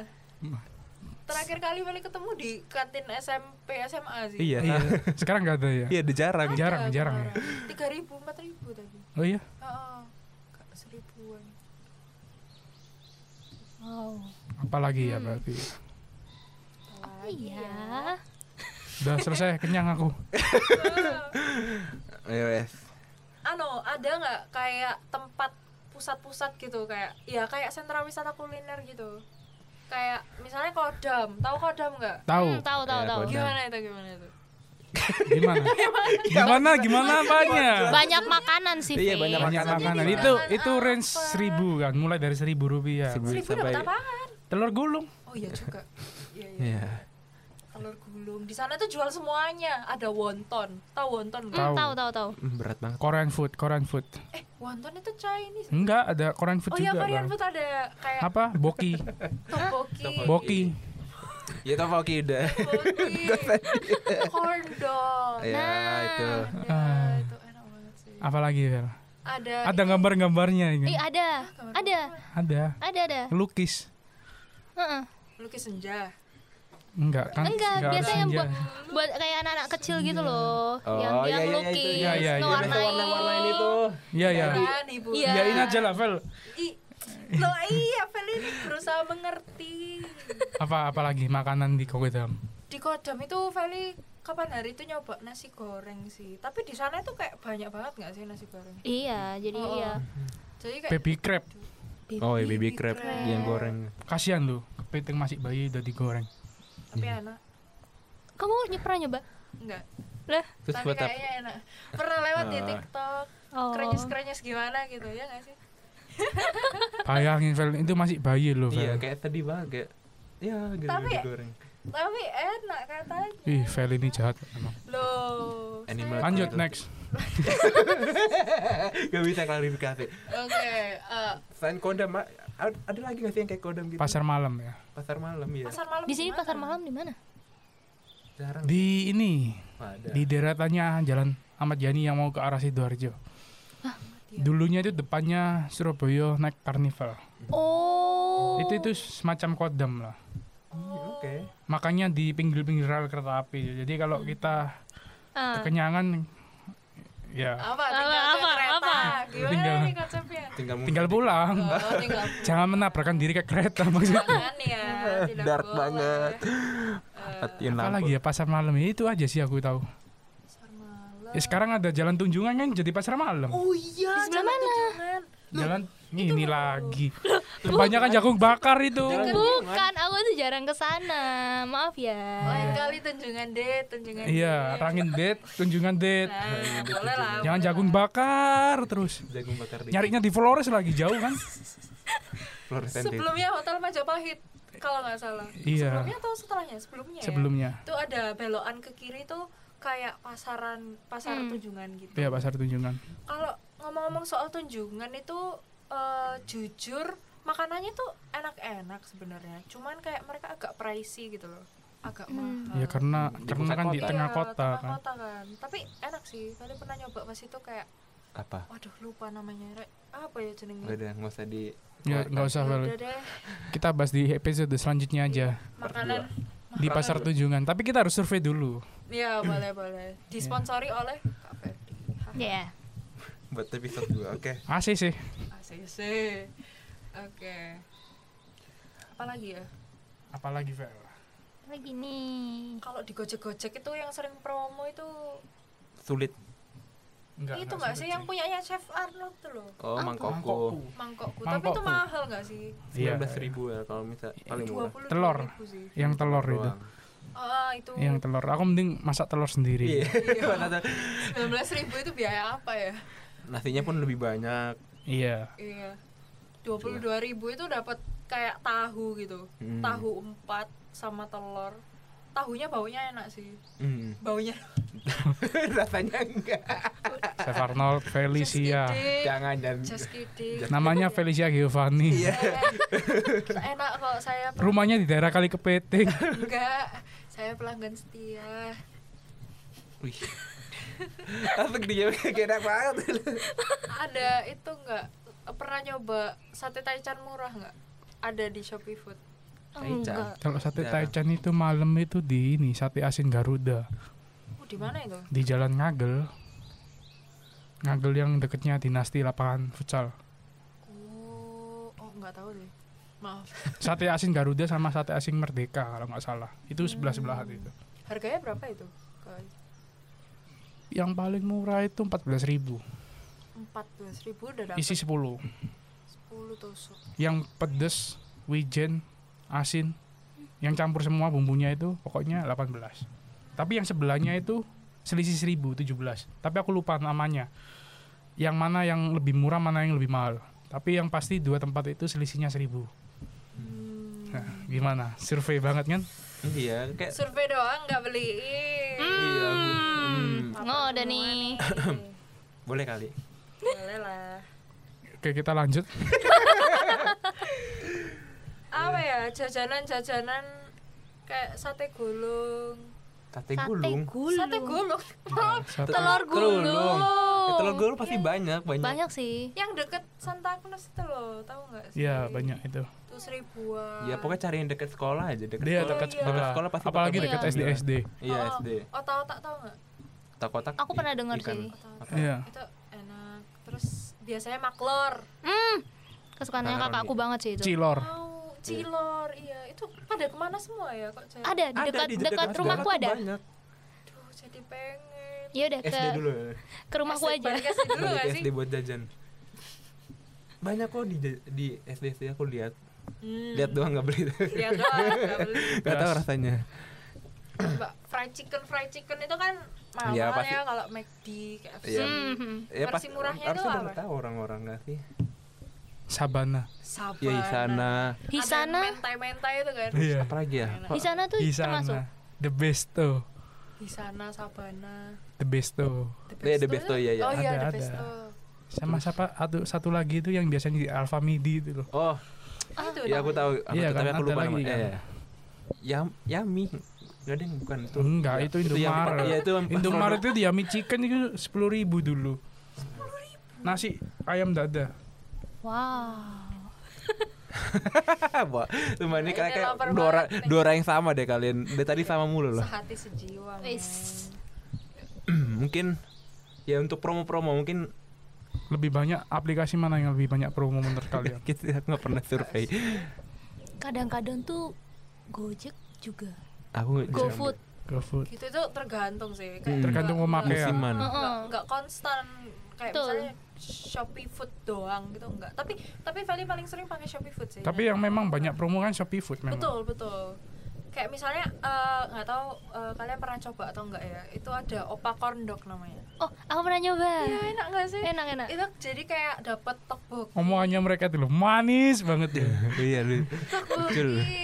Speaker 1: terakhir kali balik ketemu di kantin SMP SMA sih
Speaker 2: Iya,
Speaker 3: Iya.
Speaker 2: nah,
Speaker 3: Sekarang nggak ada ya?
Speaker 2: iya dia jarang.
Speaker 1: Ada
Speaker 3: jarang, jarang ya.
Speaker 1: kemarin. tiga ribu empat ribu tadi
Speaker 3: Oh iya.
Speaker 1: oh, nggak seribuan
Speaker 4: Wow.
Speaker 3: Apalagi
Speaker 4: Hmm.
Speaker 3: ya berarti.
Speaker 2: Oh,
Speaker 1: Ah,
Speaker 4: Iya.
Speaker 3: Udah selesai kenyang aku.
Speaker 2: Iya, wes.
Speaker 1: ano ada nggak kayak tempat pusat-pusat gitu kayak ya kayak sentra wisata kuliner gitu kayak misalnya kodam tahu kodam nggak
Speaker 3: Tahu.
Speaker 4: Hmm, tahu tahu
Speaker 2: Ya,
Speaker 4: tahu.
Speaker 2: Kodam.
Speaker 1: gimana itu gimana itu
Speaker 3: Gimana? Gimana gimana apanya?
Speaker 4: Banyak makanan sih. Hmm,
Speaker 2: Iya,
Speaker 4: Fit.
Speaker 2: banyak
Speaker 3: Banyak
Speaker 2: Makanan
Speaker 3: makanan.
Speaker 2: ini
Speaker 3: Itu
Speaker 1: makanan
Speaker 3: itu range
Speaker 1: apa?
Speaker 3: 1000 kan, mulai dari 1000 rupiah.
Speaker 2: Seribu
Speaker 1: seribu
Speaker 2: sampai
Speaker 1: dapat apaan
Speaker 3: Telur gulung.
Speaker 1: oh iya juga iya iya
Speaker 2: Iya.
Speaker 1: telur gulung di sana tuh jual semuanya ada wonton tahu wonton nggak?
Speaker 3: Tahu.
Speaker 4: Hmm, tahu tahu tahu.
Speaker 2: Hmm, Berat banget.
Speaker 3: Korean food, Korean food.
Speaker 1: eh wonton itu Chinese
Speaker 3: Enggak, ada Korean
Speaker 1: oh
Speaker 3: food
Speaker 1: iya
Speaker 3: juga.
Speaker 1: Korean
Speaker 3: Bang.
Speaker 1: food ada kayak
Speaker 3: Apa? Boki.
Speaker 1: tteokbokki
Speaker 3: Boki.
Speaker 2: Ya tau oke udah.
Speaker 1: tteokbokki corn dog
Speaker 4: Nah.
Speaker 3: Iya.
Speaker 2: Ya itu.
Speaker 1: ada itu enak banget sih
Speaker 3: Apalagi Vel?
Speaker 1: ada
Speaker 3: Ah. Ada gambar-gambarnya
Speaker 2: Hmm.
Speaker 3: ini.
Speaker 4: Ih, Iya, ada. Ada.
Speaker 3: Ada.
Speaker 4: Ada ada.
Speaker 3: Lukis.
Speaker 4: Heeh.
Speaker 1: lukis senja
Speaker 3: Enggak kan?
Speaker 4: Enggak,
Speaker 3: ada
Speaker 4: biasa yang
Speaker 3: senja.
Speaker 4: buat buat kayak anak-anak kecil gitu loh,
Speaker 2: Oh,
Speaker 4: yang
Speaker 2: iya,
Speaker 4: dia
Speaker 2: iya,
Speaker 4: ngelukis,
Speaker 2: itu.
Speaker 3: Iya, iya, iya.
Speaker 4: ngewarnain.
Speaker 2: warna-warnain itu.
Speaker 3: Iya, iya.
Speaker 1: kan ibu
Speaker 4: Iya.
Speaker 3: Yain aja lah, Vel.
Speaker 1: I- Loh, iya Felin berusaha mengerti
Speaker 3: Apa apalagi makanan di Kokedam?
Speaker 1: di Kodam itu Feli kapan hari itu nyoba nasi goreng sih tapi di sana itu kayak banyak banget nggak sih nasi goreng
Speaker 4: Iya, jadi
Speaker 1: Oh,
Speaker 4: iya.
Speaker 1: jadi kayak
Speaker 3: Baby crab.
Speaker 2: Oh, ya baby crab
Speaker 1: crab.
Speaker 2: yang goreng.
Speaker 3: Kasihan lu, kepiting masih bayi udah digoreng.
Speaker 1: tapi
Speaker 2: Iya.
Speaker 1: enak
Speaker 4: Kamu ya, pernah nyoba?
Speaker 1: enggak
Speaker 4: Lah,
Speaker 2: Terus
Speaker 1: tapi
Speaker 2: buat apa?
Speaker 1: kayaknya enak pernah lewat di
Speaker 2: Ah.
Speaker 1: TikTok
Speaker 4: Oh.
Speaker 1: krenyes krenyes gimana gitu ya nggak sih
Speaker 3: Bayangin Vel, itu masih bayi lu,
Speaker 2: Iya,
Speaker 3: Vel.
Speaker 2: kayak sedih banget kayak. Ya, gara-gara
Speaker 1: Tapi-
Speaker 2: digoreng.
Speaker 1: tapi enak katanya
Speaker 3: Ih, Vel ini jahat emang.
Speaker 1: loh
Speaker 2: Iya. Animal
Speaker 3: Lanjut
Speaker 2: Betul.
Speaker 3: next.
Speaker 2: Gak bisa klarifikasi.
Speaker 1: oke eh,
Speaker 2: Selain kodam, Ma- ad- ada lagi gak sih yang kayak kodam gitu?
Speaker 3: Pasar malam ya.
Speaker 2: Pasar malam ya.
Speaker 1: pasar malam
Speaker 4: Di sini
Speaker 1: gimana?
Speaker 4: pasar malam di mana?
Speaker 2: Jarang
Speaker 3: Di ini,
Speaker 2: ada.
Speaker 3: di deretannya Jalan Ahmad Yani yang mau ke arah Sidoarjo. Dulunya itu depannya Surabaya naik karnival.
Speaker 4: Oh.
Speaker 3: Itu itu semacam kodam lah.
Speaker 2: Hmm, Oke.
Speaker 3: Makanya di pinggir-pinggir rel kereta api. Jadi kalau kita
Speaker 4: Ah.
Speaker 3: kekenyangan ya
Speaker 1: apa tinggal
Speaker 4: Apa,
Speaker 1: apa,
Speaker 4: apa,
Speaker 1: kereta
Speaker 4: apa?
Speaker 1: gimana
Speaker 3: Tinggal-
Speaker 1: nih konsepnya
Speaker 2: Tinggal mungkin
Speaker 3: tinggal pulang.
Speaker 4: Ah.
Speaker 1: oh, tinggal
Speaker 3: Jangan menabrakkan diri ke kereta maksudnya.
Speaker 1: jangan ya tidak
Speaker 2: dark
Speaker 1: boleh.
Speaker 2: banget. Eh, matiin
Speaker 3: Apa lagi
Speaker 2: lampu.
Speaker 3: ya pasar malam ya, itu aja sih aku tahu.
Speaker 1: pasar malam
Speaker 3: Ya sekarang ada jalan tunjungan kan jadi pasar malam.
Speaker 1: oh iya
Speaker 4: Di sebelah
Speaker 1: jalan
Speaker 4: mana?
Speaker 1: tunjungan.
Speaker 3: Jalan ini lagi. Kebanyakan jagung bakar itu.
Speaker 2: Bukan.
Speaker 4: Bukan, aku tuh jarang ke sana. Maaf ya.
Speaker 1: Lain kali tunjungan date, tunjungan
Speaker 3: Iya,
Speaker 1: date.
Speaker 3: rangin date, tunjungan date.
Speaker 1: Nah, boleh lah.
Speaker 3: Jangan
Speaker 1: boleh
Speaker 3: jagung
Speaker 1: lah.
Speaker 3: bakar terus.
Speaker 2: Jagung bakar di
Speaker 3: Nyarinya di Flores lagi jauh kan?
Speaker 2: fluorescent itu.
Speaker 1: Sebelumnya hotel Majapahit kalau nggak salah.
Speaker 3: Iya.
Speaker 1: Sebelumnya atau setelahnya? Sebelumnya. ya?
Speaker 3: Sebelumnya.
Speaker 1: Itu ada belokan ke kiri tuh kayak pasaran pasar
Speaker 4: Hmm.
Speaker 1: tunjungan gitu.
Speaker 3: Iya, pasar tunjungan.
Speaker 1: Kalau ngomong-ngomong soal tunjungan itu eh, jujur makanannya tuh enak-enak sebenarnya. Cuman kayak mereka agak pricey gitu loh. Agak mahal.
Speaker 3: Ya karena
Speaker 2: Di
Speaker 3: karena
Speaker 2: pusat
Speaker 3: kan di
Speaker 2: kota.
Speaker 3: tengah
Speaker 1: Iya,
Speaker 3: kota
Speaker 1: tengah
Speaker 3: kan.
Speaker 1: kota kan. Tapi enak sih. Tadi pernah nyoba pas itu kayak
Speaker 2: Apa?
Speaker 1: waduh lupa namanya. Rek. Apa ya jenengnya?
Speaker 2: Gak ada, nggak usah di.
Speaker 3: Ya nggak usah Val.
Speaker 1: Udah deh,
Speaker 3: Kita bahas di episode selanjutnya aja
Speaker 1: makanan.
Speaker 3: di pasar tunjungan. Tapi kita harus survei dulu.
Speaker 1: Ya, boleh boleh.
Speaker 3: Iya.
Speaker 1: Disponsori oleh Kak Ferdi. Hah,
Speaker 4: Ya.
Speaker 2: Buat episode dua, oke.
Speaker 3: Asih sih.
Speaker 1: ACC. Ah, Oke. Apalagi ya?
Speaker 3: Apalagi Val.
Speaker 4: Lagi nih.
Speaker 1: Kalau di Gojek-Gojek itu yang sering promo itu
Speaker 2: Sulit.
Speaker 1: itu enggak sih yang punyanya Chef Arnold tuh loh.
Speaker 2: Oh, mangkoko.
Speaker 3: Iya.
Speaker 1: Mangkokku. Tapi itu
Speaker 3: Mangkokku.
Speaker 1: mahal enggak sih?
Speaker 3: Iya.
Speaker 2: Sembilan belas ribu ya kalau misal paling murah.
Speaker 1: 20
Speaker 3: Telur.
Speaker 1: sih.
Speaker 3: Yang telur itu.
Speaker 2: Doang.
Speaker 1: Oh, itu
Speaker 3: Yang telur. Aku mending masak telur sendiri.
Speaker 2: Iya. Padahal
Speaker 1: 19.000 itu biaya apa ya?
Speaker 2: Nasinya pun lebih banyak.
Speaker 3: Iya.
Speaker 1: Iya. 22.000 itu dapat kayak tahu gitu.
Speaker 2: Hmm.
Speaker 1: Tahu empat sama telur. Tahunya baunya enak sih.
Speaker 2: Hmm.
Speaker 1: Baunya
Speaker 2: Rasanya enggak.
Speaker 3: Chef Arnold Felicia.
Speaker 1: Just kidding.
Speaker 2: Jangan jangan.
Speaker 1: Just kidding.
Speaker 3: Namanya
Speaker 2: ya.
Speaker 3: Felicia Giovanni.
Speaker 2: Iya.
Speaker 1: Eh, Enak kok saya pel-
Speaker 3: Iya. Rumahnya di daerah Kali Kepiting.
Speaker 1: enggak. Saya pelanggan setia.
Speaker 2: Wih. Asik dia kayak enak banget.
Speaker 1: Ada itu enggak? Pernah nyoba sate taichan murah enggak? Ada di Shopee Food.
Speaker 4: Enggak.
Speaker 3: Kalau sate
Speaker 2: Jarang.
Speaker 3: Taichan itu malam itu di ini sate asin Garuda
Speaker 1: Oh, di mana itu?
Speaker 3: di Jalan Ngagel. Ngagel yang deketnya dinasti lapangan futsal.
Speaker 1: Oh, oh enggak tahu deh. Maaf.
Speaker 3: Sate asin Garuda sama sate asin Merdeka kalau nggak salah. Itu sebelah sebelahan itu.
Speaker 1: Harganya berapa itu? Kak?
Speaker 3: Yang paling murah itu 14.000.
Speaker 1: 14.000 udah dapat
Speaker 3: Isi 10.
Speaker 1: 10 tusuk.
Speaker 3: Yang pedes, wijen, asin, yang campur semua bumbunya itu pokoknya 18. Tapi yang sebelahnya itu selisih 1000 17. Tapi aku lupa namanya. Yang mana yang lebih murah, mana yang lebih mahal. Tapi yang pasti dua tempat itu selisihnya 1000.
Speaker 1: Hmm.
Speaker 3: Nah, gimana? Survei banget kan?
Speaker 2: Iya, kayak
Speaker 1: Survei doang enggak beliin.
Speaker 2: iya. Bu. Hmm.
Speaker 4: Ngoda Oh, nih.
Speaker 2: Boleh kali.
Speaker 1: Boleh lah.
Speaker 3: Oke, kita lanjut.
Speaker 1: Apa ya? Jajanan-jajanan kayak sate gulung.
Speaker 2: Sate
Speaker 4: Sate
Speaker 2: gulung.
Speaker 4: gulung.
Speaker 1: Sate gulung.
Speaker 3: Sate-
Speaker 4: Telur gulung.
Speaker 2: Ya, telur gulung pasti banyak, banyak.
Speaker 4: Banyak sih.
Speaker 1: yang deket Santa Claus itu loh, tahu nggak sih?
Speaker 3: Iya, banyak itu.
Speaker 1: Tuh seribuan.
Speaker 2: Ya pokoknya cari yang dekat sekolah aja, dekat
Speaker 3: Dia
Speaker 2: sekolah.
Speaker 3: dekat
Speaker 1: iya.
Speaker 3: sekolah.
Speaker 2: Dekat sekolah pasti
Speaker 3: Apalagi
Speaker 2: bakal
Speaker 3: dekat
Speaker 2: banyak.
Speaker 3: SD SD.
Speaker 2: Iya,
Speaker 1: Oh,
Speaker 2: SD.
Speaker 1: Otak-otak tahu nggak?
Speaker 2: Kotak-kotak.
Speaker 4: Aku pernah dengar
Speaker 2: ikan.
Speaker 4: sih.
Speaker 1: Otak-otak.
Speaker 3: Iya.
Speaker 1: Itu enak. Terus biasanya maklor.
Speaker 4: Hmm. Kesukaannya
Speaker 2: Tangan
Speaker 4: kakakku banget sih itu.
Speaker 3: Cilor.
Speaker 1: Mau cilor, iya. Itu pada kemana semua ya kok jadi?
Speaker 4: Ada di
Speaker 2: Ada
Speaker 4: dekat
Speaker 2: di
Speaker 4: dekat
Speaker 2: daerah
Speaker 4: rumahku
Speaker 2: tuh
Speaker 4: ada.
Speaker 2: Banyak.
Speaker 1: Aduh, jadi pengen.
Speaker 4: Ya udah ke
Speaker 2: SD dulu. ya.
Speaker 4: ke rumahku
Speaker 1: SD,
Speaker 4: aja.
Speaker 1: balik SD dulu
Speaker 2: Balik
Speaker 1: nggak
Speaker 2: SD
Speaker 1: sih?
Speaker 2: buat jajan. Banyak kok di ja- di SD SD aku lihat.
Speaker 1: Hmm. Iya.
Speaker 2: Lihat doang nggak beli.
Speaker 1: Lihat doang, nggak beli.
Speaker 2: Gak tahu rasanya.
Speaker 1: Coba fried chicken, fried chicken itu kan mahal
Speaker 2: Iya,
Speaker 1: ya,
Speaker 2: pasti.
Speaker 1: kalau McD, KFC.
Speaker 2: Iya.
Speaker 4: Hmm, hmm.
Speaker 1: Versi murahnya
Speaker 2: harusnya
Speaker 1: itu
Speaker 2: udah
Speaker 1: apa?
Speaker 2: tahu orang-orang nggak sih?
Speaker 3: Sabana.
Speaker 1: Sabana.
Speaker 2: Ya di sana.
Speaker 1: Ada
Speaker 4: Hisana,
Speaker 1: mentai-mentai itu kan.
Speaker 3: Iya.
Speaker 2: Apa lagi ya? Kok-
Speaker 4: Hisana tuh termasuk.
Speaker 3: Hisana. The best tuh.
Speaker 1: Hisana, Sabana.
Speaker 3: The best tuh.
Speaker 2: Iya, The Besto, iya, iya.
Speaker 1: Oh iya,
Speaker 3: Ada,
Speaker 1: The
Speaker 3: ada.
Speaker 1: Besto.
Speaker 3: sama siapa satu satu lagi itu yang biasanya di Alfa Midi itu loh
Speaker 2: Oh,
Speaker 4: Ah.
Speaker 1: Itu
Speaker 2: ya aku tahu. Aku,
Speaker 3: Iya,
Speaker 2: tapi
Speaker 3: kan,
Speaker 2: aku
Speaker 3: ada
Speaker 2: lupa
Speaker 3: lagi
Speaker 2: namanya.
Speaker 3: kan.
Speaker 2: Iya, iya. Yam, yami. Gak ada yang bukan itu.
Speaker 3: enggak itu Indomaret
Speaker 2: Iya, itu yang-
Speaker 3: Indomaret itu di Yummy Chicken itu sepuluh ribu dulu nasi ayam dada
Speaker 4: Wow.
Speaker 2: Wah, cuma ini kayak kayak
Speaker 1: lapar
Speaker 2: dora
Speaker 1: banget nih.
Speaker 2: dora yang sama deh kalian. Dari tadi sama mulu loh.
Speaker 1: Sehati sejiwa. men.
Speaker 4: Wis.
Speaker 2: mungkin ya untuk promo-promo mungkin
Speaker 3: lebih banyak aplikasi mana yang lebih banyak promo menurut kalian
Speaker 2: kita aku nggak pernah survei.
Speaker 4: Kadang-kadang tuh Gojek juga.
Speaker 2: Aku nggak-
Speaker 4: GoFood.
Speaker 3: GoFood
Speaker 1: Gitu itu tergantung sih.
Speaker 2: Hmm.
Speaker 3: Tergantung
Speaker 1: nggak-
Speaker 3: pemakaian.
Speaker 2: Musiman.
Speaker 1: nggak-
Speaker 4: Heeh.
Speaker 1: nggak- nggak konstan kayak
Speaker 4: Betul.
Speaker 1: misalnya Shopee Food doang gitu enggak. Tapi tapi Feli paling sering pakai Shopee Food sih.
Speaker 3: Tapi yang memang banyak promo kan Shopee Food memang.
Speaker 1: Betul, betul. Kayak misalnya eh, nggak tahu eh, kalian pernah coba atau enggak ya? Itu ada opak Dog namanya.
Speaker 4: Oh, aku pernah nyoba.
Speaker 1: Iya, enak enggak sih?
Speaker 4: Enak, enak.
Speaker 1: Itu jadi kayak dapat tokbokki.
Speaker 3: Omongannya mereka itu loh manis banget ya.
Speaker 2: iya lu Betul.
Speaker 1: Tteokbokki.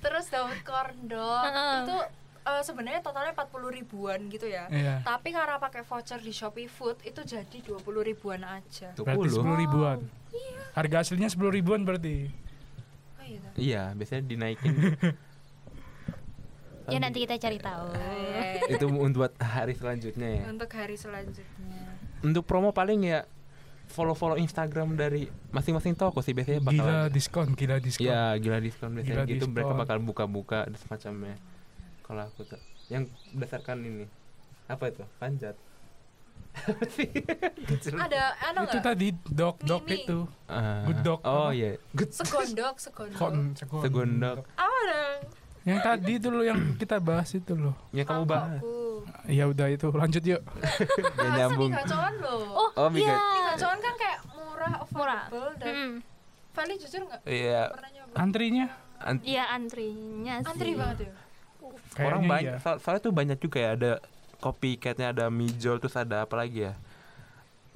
Speaker 1: Terus daun corn dog.
Speaker 4: Heeh.
Speaker 1: Itu eh, sebenarnya totalnya 40 ribuan gitu ya.
Speaker 3: Iya.
Speaker 1: Tapi karena pakai voucher di Shopee Food itu jadi 20 ribuan aja.
Speaker 2: 10.
Speaker 3: Berarti sepuluh ribuan.
Speaker 1: Iya.
Speaker 3: Harga aslinya sepuluh ribuan berarti.
Speaker 1: Oh iya. toh.
Speaker 2: Iya, biasanya dinaikin.
Speaker 4: Ya nanti kita cari tahu.
Speaker 1: Eh,
Speaker 2: itu untuk hari selanjutnya ya.
Speaker 1: Untuk hari selanjutnya.
Speaker 2: Untuk promo paling ya follow-follow Instagram dari masing-masing toko sih biasanya bakal
Speaker 3: Gila diskon, gila diskon.
Speaker 2: Ya, gila diskon biasanya
Speaker 3: Gila
Speaker 2: gitu mereka
Speaker 3: diskon.
Speaker 2: bakal buka-buka dan semacamnya. Kalau aku tuh yang berdasarkan ini apa itu? Panjat. Apa sih? Kecil.
Speaker 1: Ada anu ada
Speaker 3: Itu
Speaker 1: enggak?
Speaker 3: tadi dok dok
Speaker 1: Mimi.
Speaker 3: itu.
Speaker 2: Ah,
Speaker 3: Good dog.
Speaker 2: Oh
Speaker 3: Apa?
Speaker 2: iya. Good.
Speaker 1: Segondok, segondok.
Speaker 3: Kon sekon.
Speaker 2: Segondok.
Speaker 1: Apa dong?
Speaker 3: Yang tadi itu loh yang kita bahas itu loh.
Speaker 2: Ya kamu bahas.
Speaker 1: Mangkokku.
Speaker 3: Ya udah itu lanjut yuk.
Speaker 2: Gak
Speaker 1: Masa
Speaker 2: nyambung.
Speaker 1: gacoan loh.
Speaker 4: Oh,
Speaker 2: Oh my
Speaker 4: iya.
Speaker 2: God.
Speaker 1: gacoan kan kayak murah, affordable dan
Speaker 4: Mm.
Speaker 1: Feli jujur nggak
Speaker 2: Iya.
Speaker 1: pernah nyoba.
Speaker 3: Antrinya
Speaker 2: ant-
Speaker 4: Iya antrinya sih.
Speaker 1: Antri banget ya.
Speaker 3: kayaknya
Speaker 2: orang banyak.
Speaker 3: iya.
Speaker 2: so- soalnya tuh banyak juga ya ada copycatnya ada mijol terus ada apa lagi ya?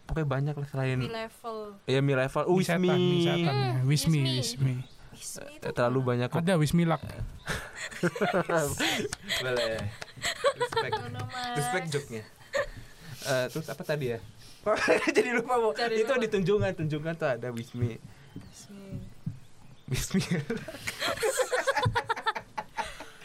Speaker 2: Pokoknya banyak lah selain
Speaker 1: Di level.
Speaker 2: ya mi level,
Speaker 3: Mie
Speaker 2: Wismi.
Speaker 3: setan, mie setan ya.
Speaker 4: Hmm,
Speaker 3: Wismi,
Speaker 4: Wismi.
Speaker 3: Wismi.
Speaker 1: Ismi itu
Speaker 2: Terlalu banyak kok.
Speaker 3: Ada Wismi Lak.
Speaker 2: Boleh. Respect.
Speaker 1: ngono, Mas.
Speaker 2: Respect joke-nya. Eh, terus apa tadi ya? Jadi lupa mau.
Speaker 1: Jadi
Speaker 2: itu
Speaker 1: lupa.
Speaker 2: di tunjungan, tunjungan tuh ada Wismi.
Speaker 1: Ismi.
Speaker 2: Wismi.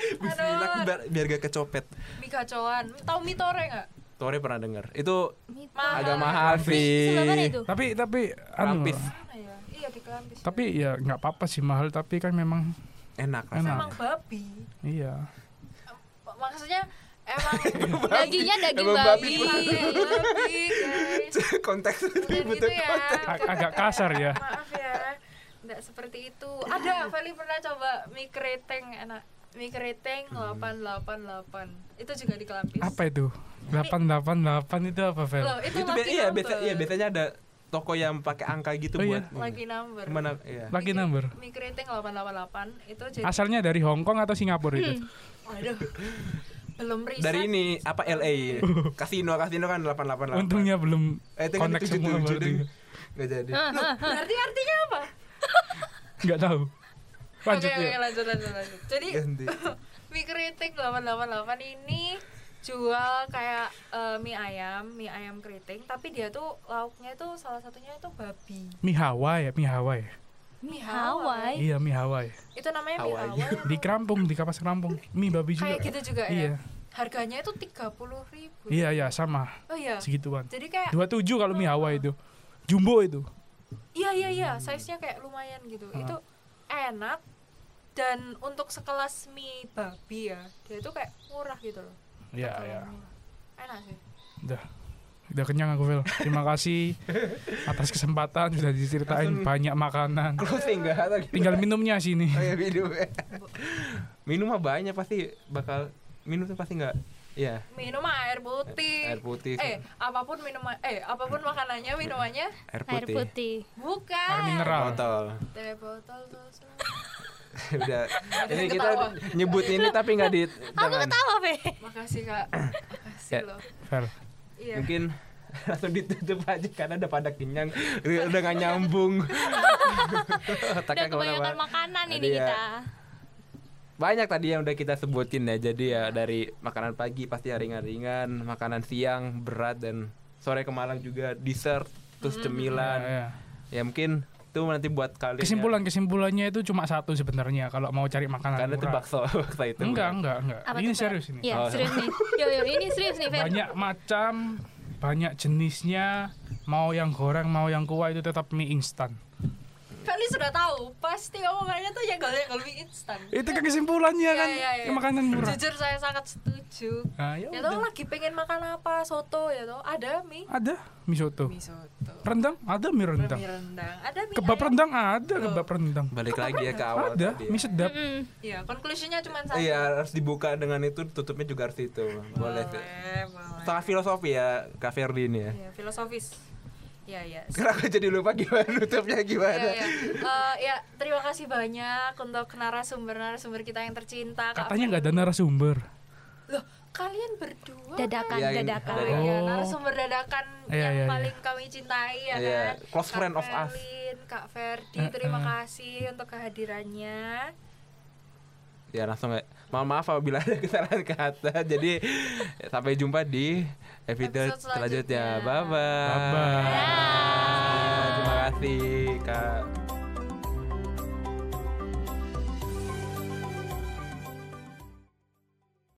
Speaker 2: Bismillah
Speaker 1: Aduh.
Speaker 2: biar, biar gak kecopet.
Speaker 1: Mie gacoan. Tahu mie tore nggak?
Speaker 2: Tore pernah dengar. Itu
Speaker 1: Mahal.
Speaker 2: agak mahal sih.
Speaker 4: Sebelah mana itu?
Speaker 3: Tapi tapi anu
Speaker 2: Rampis.
Speaker 3: loh.
Speaker 1: Mana ya? Iya di Kelampis. ya.
Speaker 3: Tapi ya nggak apa-apa sih mahal tapi kan memang
Speaker 2: Enak rasanya.
Speaker 1: emang babi.
Speaker 3: iya.
Speaker 1: Maksudnya emang
Speaker 4: Dagingnya daging
Speaker 2: Emang babi.
Speaker 4: babi.
Speaker 1: Iya, babi, guys.
Speaker 2: konteks
Speaker 1: Bukan gitu ya.
Speaker 3: Ag- agak kasar ya.
Speaker 1: Maaf ya. Enggak seperti itu. Ada Feli pernah coba mie keriting enak. Mie keriting 888. Itu juga di Kelampis.
Speaker 3: Hmm. Apa itu? 888 itu apa, Fel?
Speaker 1: Loh, itu,
Speaker 2: Itu
Speaker 1: lagi
Speaker 2: bi- iya,
Speaker 1: number.
Speaker 2: biasa, iya, biasanya ada toko yang pakai angka gitu
Speaker 3: Oh,
Speaker 2: buat
Speaker 3: iya.
Speaker 1: Lagi number.
Speaker 2: Mana iya.
Speaker 3: Lagi
Speaker 1: Mie-
Speaker 3: number.
Speaker 1: Mie keriting 888 itu jadi
Speaker 3: Asalnya dari Hong Kong atau Singapura itu?
Speaker 2: Hmm.
Speaker 1: Waduh. Belum riset.
Speaker 2: Dari ini apa LA? Kasino, kasino kan 888.
Speaker 3: Untungnya belum
Speaker 2: Eh, itu kan
Speaker 3: connect
Speaker 2: itu
Speaker 3: semua
Speaker 2: judul,
Speaker 3: berarti.
Speaker 2: judul. Nggak jadi.
Speaker 1: Berarti artinya apa?
Speaker 3: Nggak tahu.
Speaker 1: Oke,
Speaker 3: Lanjut
Speaker 1: oke,
Speaker 3: yuk.
Speaker 1: lanjut, lanjut, lanjut. Jadi
Speaker 2: Ganti.
Speaker 1: mie keriting 888 ini jual kayak eh, mie ayam, mie ayam keriting, tapi dia tuh lauknya tuh salah satunya itu babi.
Speaker 3: Mie Hawaii ya, mie Hawaii.
Speaker 1: Mie Eh?
Speaker 4: Hawaii.
Speaker 3: Iya, mie Hawaii.
Speaker 1: Itu namanya mie
Speaker 2: Hawaii.
Speaker 1: Hawaii.
Speaker 3: Di Krampung, di kapas Krampung. Mie babi juga.
Speaker 1: Kayak gitu juga ya.
Speaker 3: Iya.
Speaker 1: Harganya itu 30.000.
Speaker 3: Iya, iya, sama
Speaker 1: Oh iya.
Speaker 3: segituan.
Speaker 1: Jadi kayak
Speaker 3: 27 kalau mie Hawaii itu. Jumbo itu.
Speaker 1: Iya iya iya, size-nya kayak lumayan gitu.
Speaker 3: Ah.
Speaker 1: Itu enak dan untuk sekelas mie babi ya, dia itu kayak murah gitu loh.
Speaker 3: Iya,
Speaker 1: Tergolong
Speaker 3: iya.
Speaker 1: murah. Enak sih.
Speaker 3: Udah. Udah kenyang aku, Fel. Terima kasih atas kesempatan sudah diceritain
Speaker 2: Langsung-
Speaker 3: banyak makanan.
Speaker 2: Closing nggak atau gimana?
Speaker 3: Tinggal minumnya sini.
Speaker 2: Oh ya minum. minum mah banyak pasti bakal minum tuh pasti nggak. Iya.
Speaker 1: Minum air putih.
Speaker 2: Air putih.
Speaker 1: Eh, apapun minuman eh apapun makanannya, minumannya
Speaker 2: air
Speaker 4: Air
Speaker 2: putih.
Speaker 4: putih.
Speaker 1: bukan.
Speaker 3: Air mineral.
Speaker 2: Botol.
Speaker 1: Teh botol susu.
Speaker 2: Udah. Ini kita
Speaker 1: Ketawa.
Speaker 2: nyebut ini tapi nggak di
Speaker 4: Aku
Speaker 2: tangan.
Speaker 4: ketawa, Be.
Speaker 1: Makasih, Kak. Makasih
Speaker 2: Ya.
Speaker 1: loh.
Speaker 3: Fel.
Speaker 1: Iya.
Speaker 2: Mungkin langsung ditutup aja karena udah pada kenyang udah nggak nyambung
Speaker 4: Udah
Speaker 2: otaknya
Speaker 4: kebanyakan
Speaker 2: kemana-mana
Speaker 4: makanan ini
Speaker 2: Tadi ya.
Speaker 4: kita.
Speaker 2: banyak tadi yang udah kita sebutin ya jadi ya dari makanan pagi pasti yang ringan-ringan makanan siang berat dan sore ke malam juga dessert terus
Speaker 1: Hmm.
Speaker 2: cemilan
Speaker 3: Iya, iya.
Speaker 2: ya mungkin itu nanti buat kalian ya.
Speaker 3: kesimpulan kesimpulannya itu cuma satu sebenarnya kalau mau cari makanan
Speaker 2: karena itu
Speaker 3: murah.
Speaker 2: bakso bakso itu
Speaker 3: enggak enggak enggak
Speaker 4: Apa
Speaker 3: ini
Speaker 4: tuh, Fer?
Speaker 3: serius ini
Speaker 4: Iya,
Speaker 2: Oh.
Speaker 4: serius nih. Yo yo, ini serius nih, Fer.
Speaker 3: banyak macam banyak jenisnya mau yang goreng mau yang kuah itu tetap mie instan
Speaker 1: Feli sudah tahu, pasti omongannya tuh yang gak lebih instan.
Speaker 3: itu kan kesimpulannya
Speaker 1: Iya,
Speaker 3: kan
Speaker 1: iya, iya.
Speaker 3: makanan murah
Speaker 1: Jujur saya sangat setuju.
Speaker 3: nah, ya
Speaker 1: Ya
Speaker 3: udah.
Speaker 1: toh lagi pengen makan apa? Soto ya toh. Ada mie.
Speaker 3: ada mie soto
Speaker 1: Mie soto.
Speaker 3: rendang ada mie rendang
Speaker 1: Mie rendang. Ada mie
Speaker 3: kebab
Speaker 1: ayam.
Speaker 3: rendang ada kebab rendang
Speaker 2: balik lagi ya ke awal
Speaker 3: ada
Speaker 2: tadi ya.
Speaker 3: mie sedap
Speaker 4: Mm.
Speaker 1: Iya, konklusinya cuma satu.
Speaker 2: iya harus dibuka dengan itu tutupnya juga harus itu boleh sih
Speaker 1: Boleh, boleh.
Speaker 2: sangat filosofi ya Kak Ferdi ini ya
Speaker 1: Iya, filosofis. Iya, iya.
Speaker 5: Karena aku jadi lupa gimana nutupnya
Speaker 1: Iya,
Speaker 5: gimana.
Speaker 1: iya. Eh, ya, terima kasih banyak untuk narasumber-narasumber kita yang tercinta. Kak
Speaker 3: Katanya nggak ada
Speaker 1: Feli.
Speaker 3: narasumber.
Speaker 1: Loh, kalian berdua
Speaker 6: dadakan
Speaker 2: Iya, ini-
Speaker 6: dadakan
Speaker 1: Oh, iya,
Speaker 3: Oh.
Speaker 1: narasumber dadakan
Speaker 3: Iya,
Speaker 1: yang
Speaker 3: iya,
Speaker 1: paling kami cintai ya
Speaker 2: Iya,
Speaker 1: kan.
Speaker 2: close
Speaker 1: Kak
Speaker 2: friend of us.
Speaker 1: Felin, Kak Ferdi, terima
Speaker 3: Eh,
Speaker 1: kasih untuk kehadirannya.
Speaker 2: ya langsung ya. Mohon maaf apabila ada kesalahan kata. Jadi sampai jumpa di episode,
Speaker 1: Episode
Speaker 2: selanjutnya.
Speaker 1: selanjutnya.
Speaker 2: Bye bye.
Speaker 3: Bye-bye.
Speaker 2: Terima kasih Kak.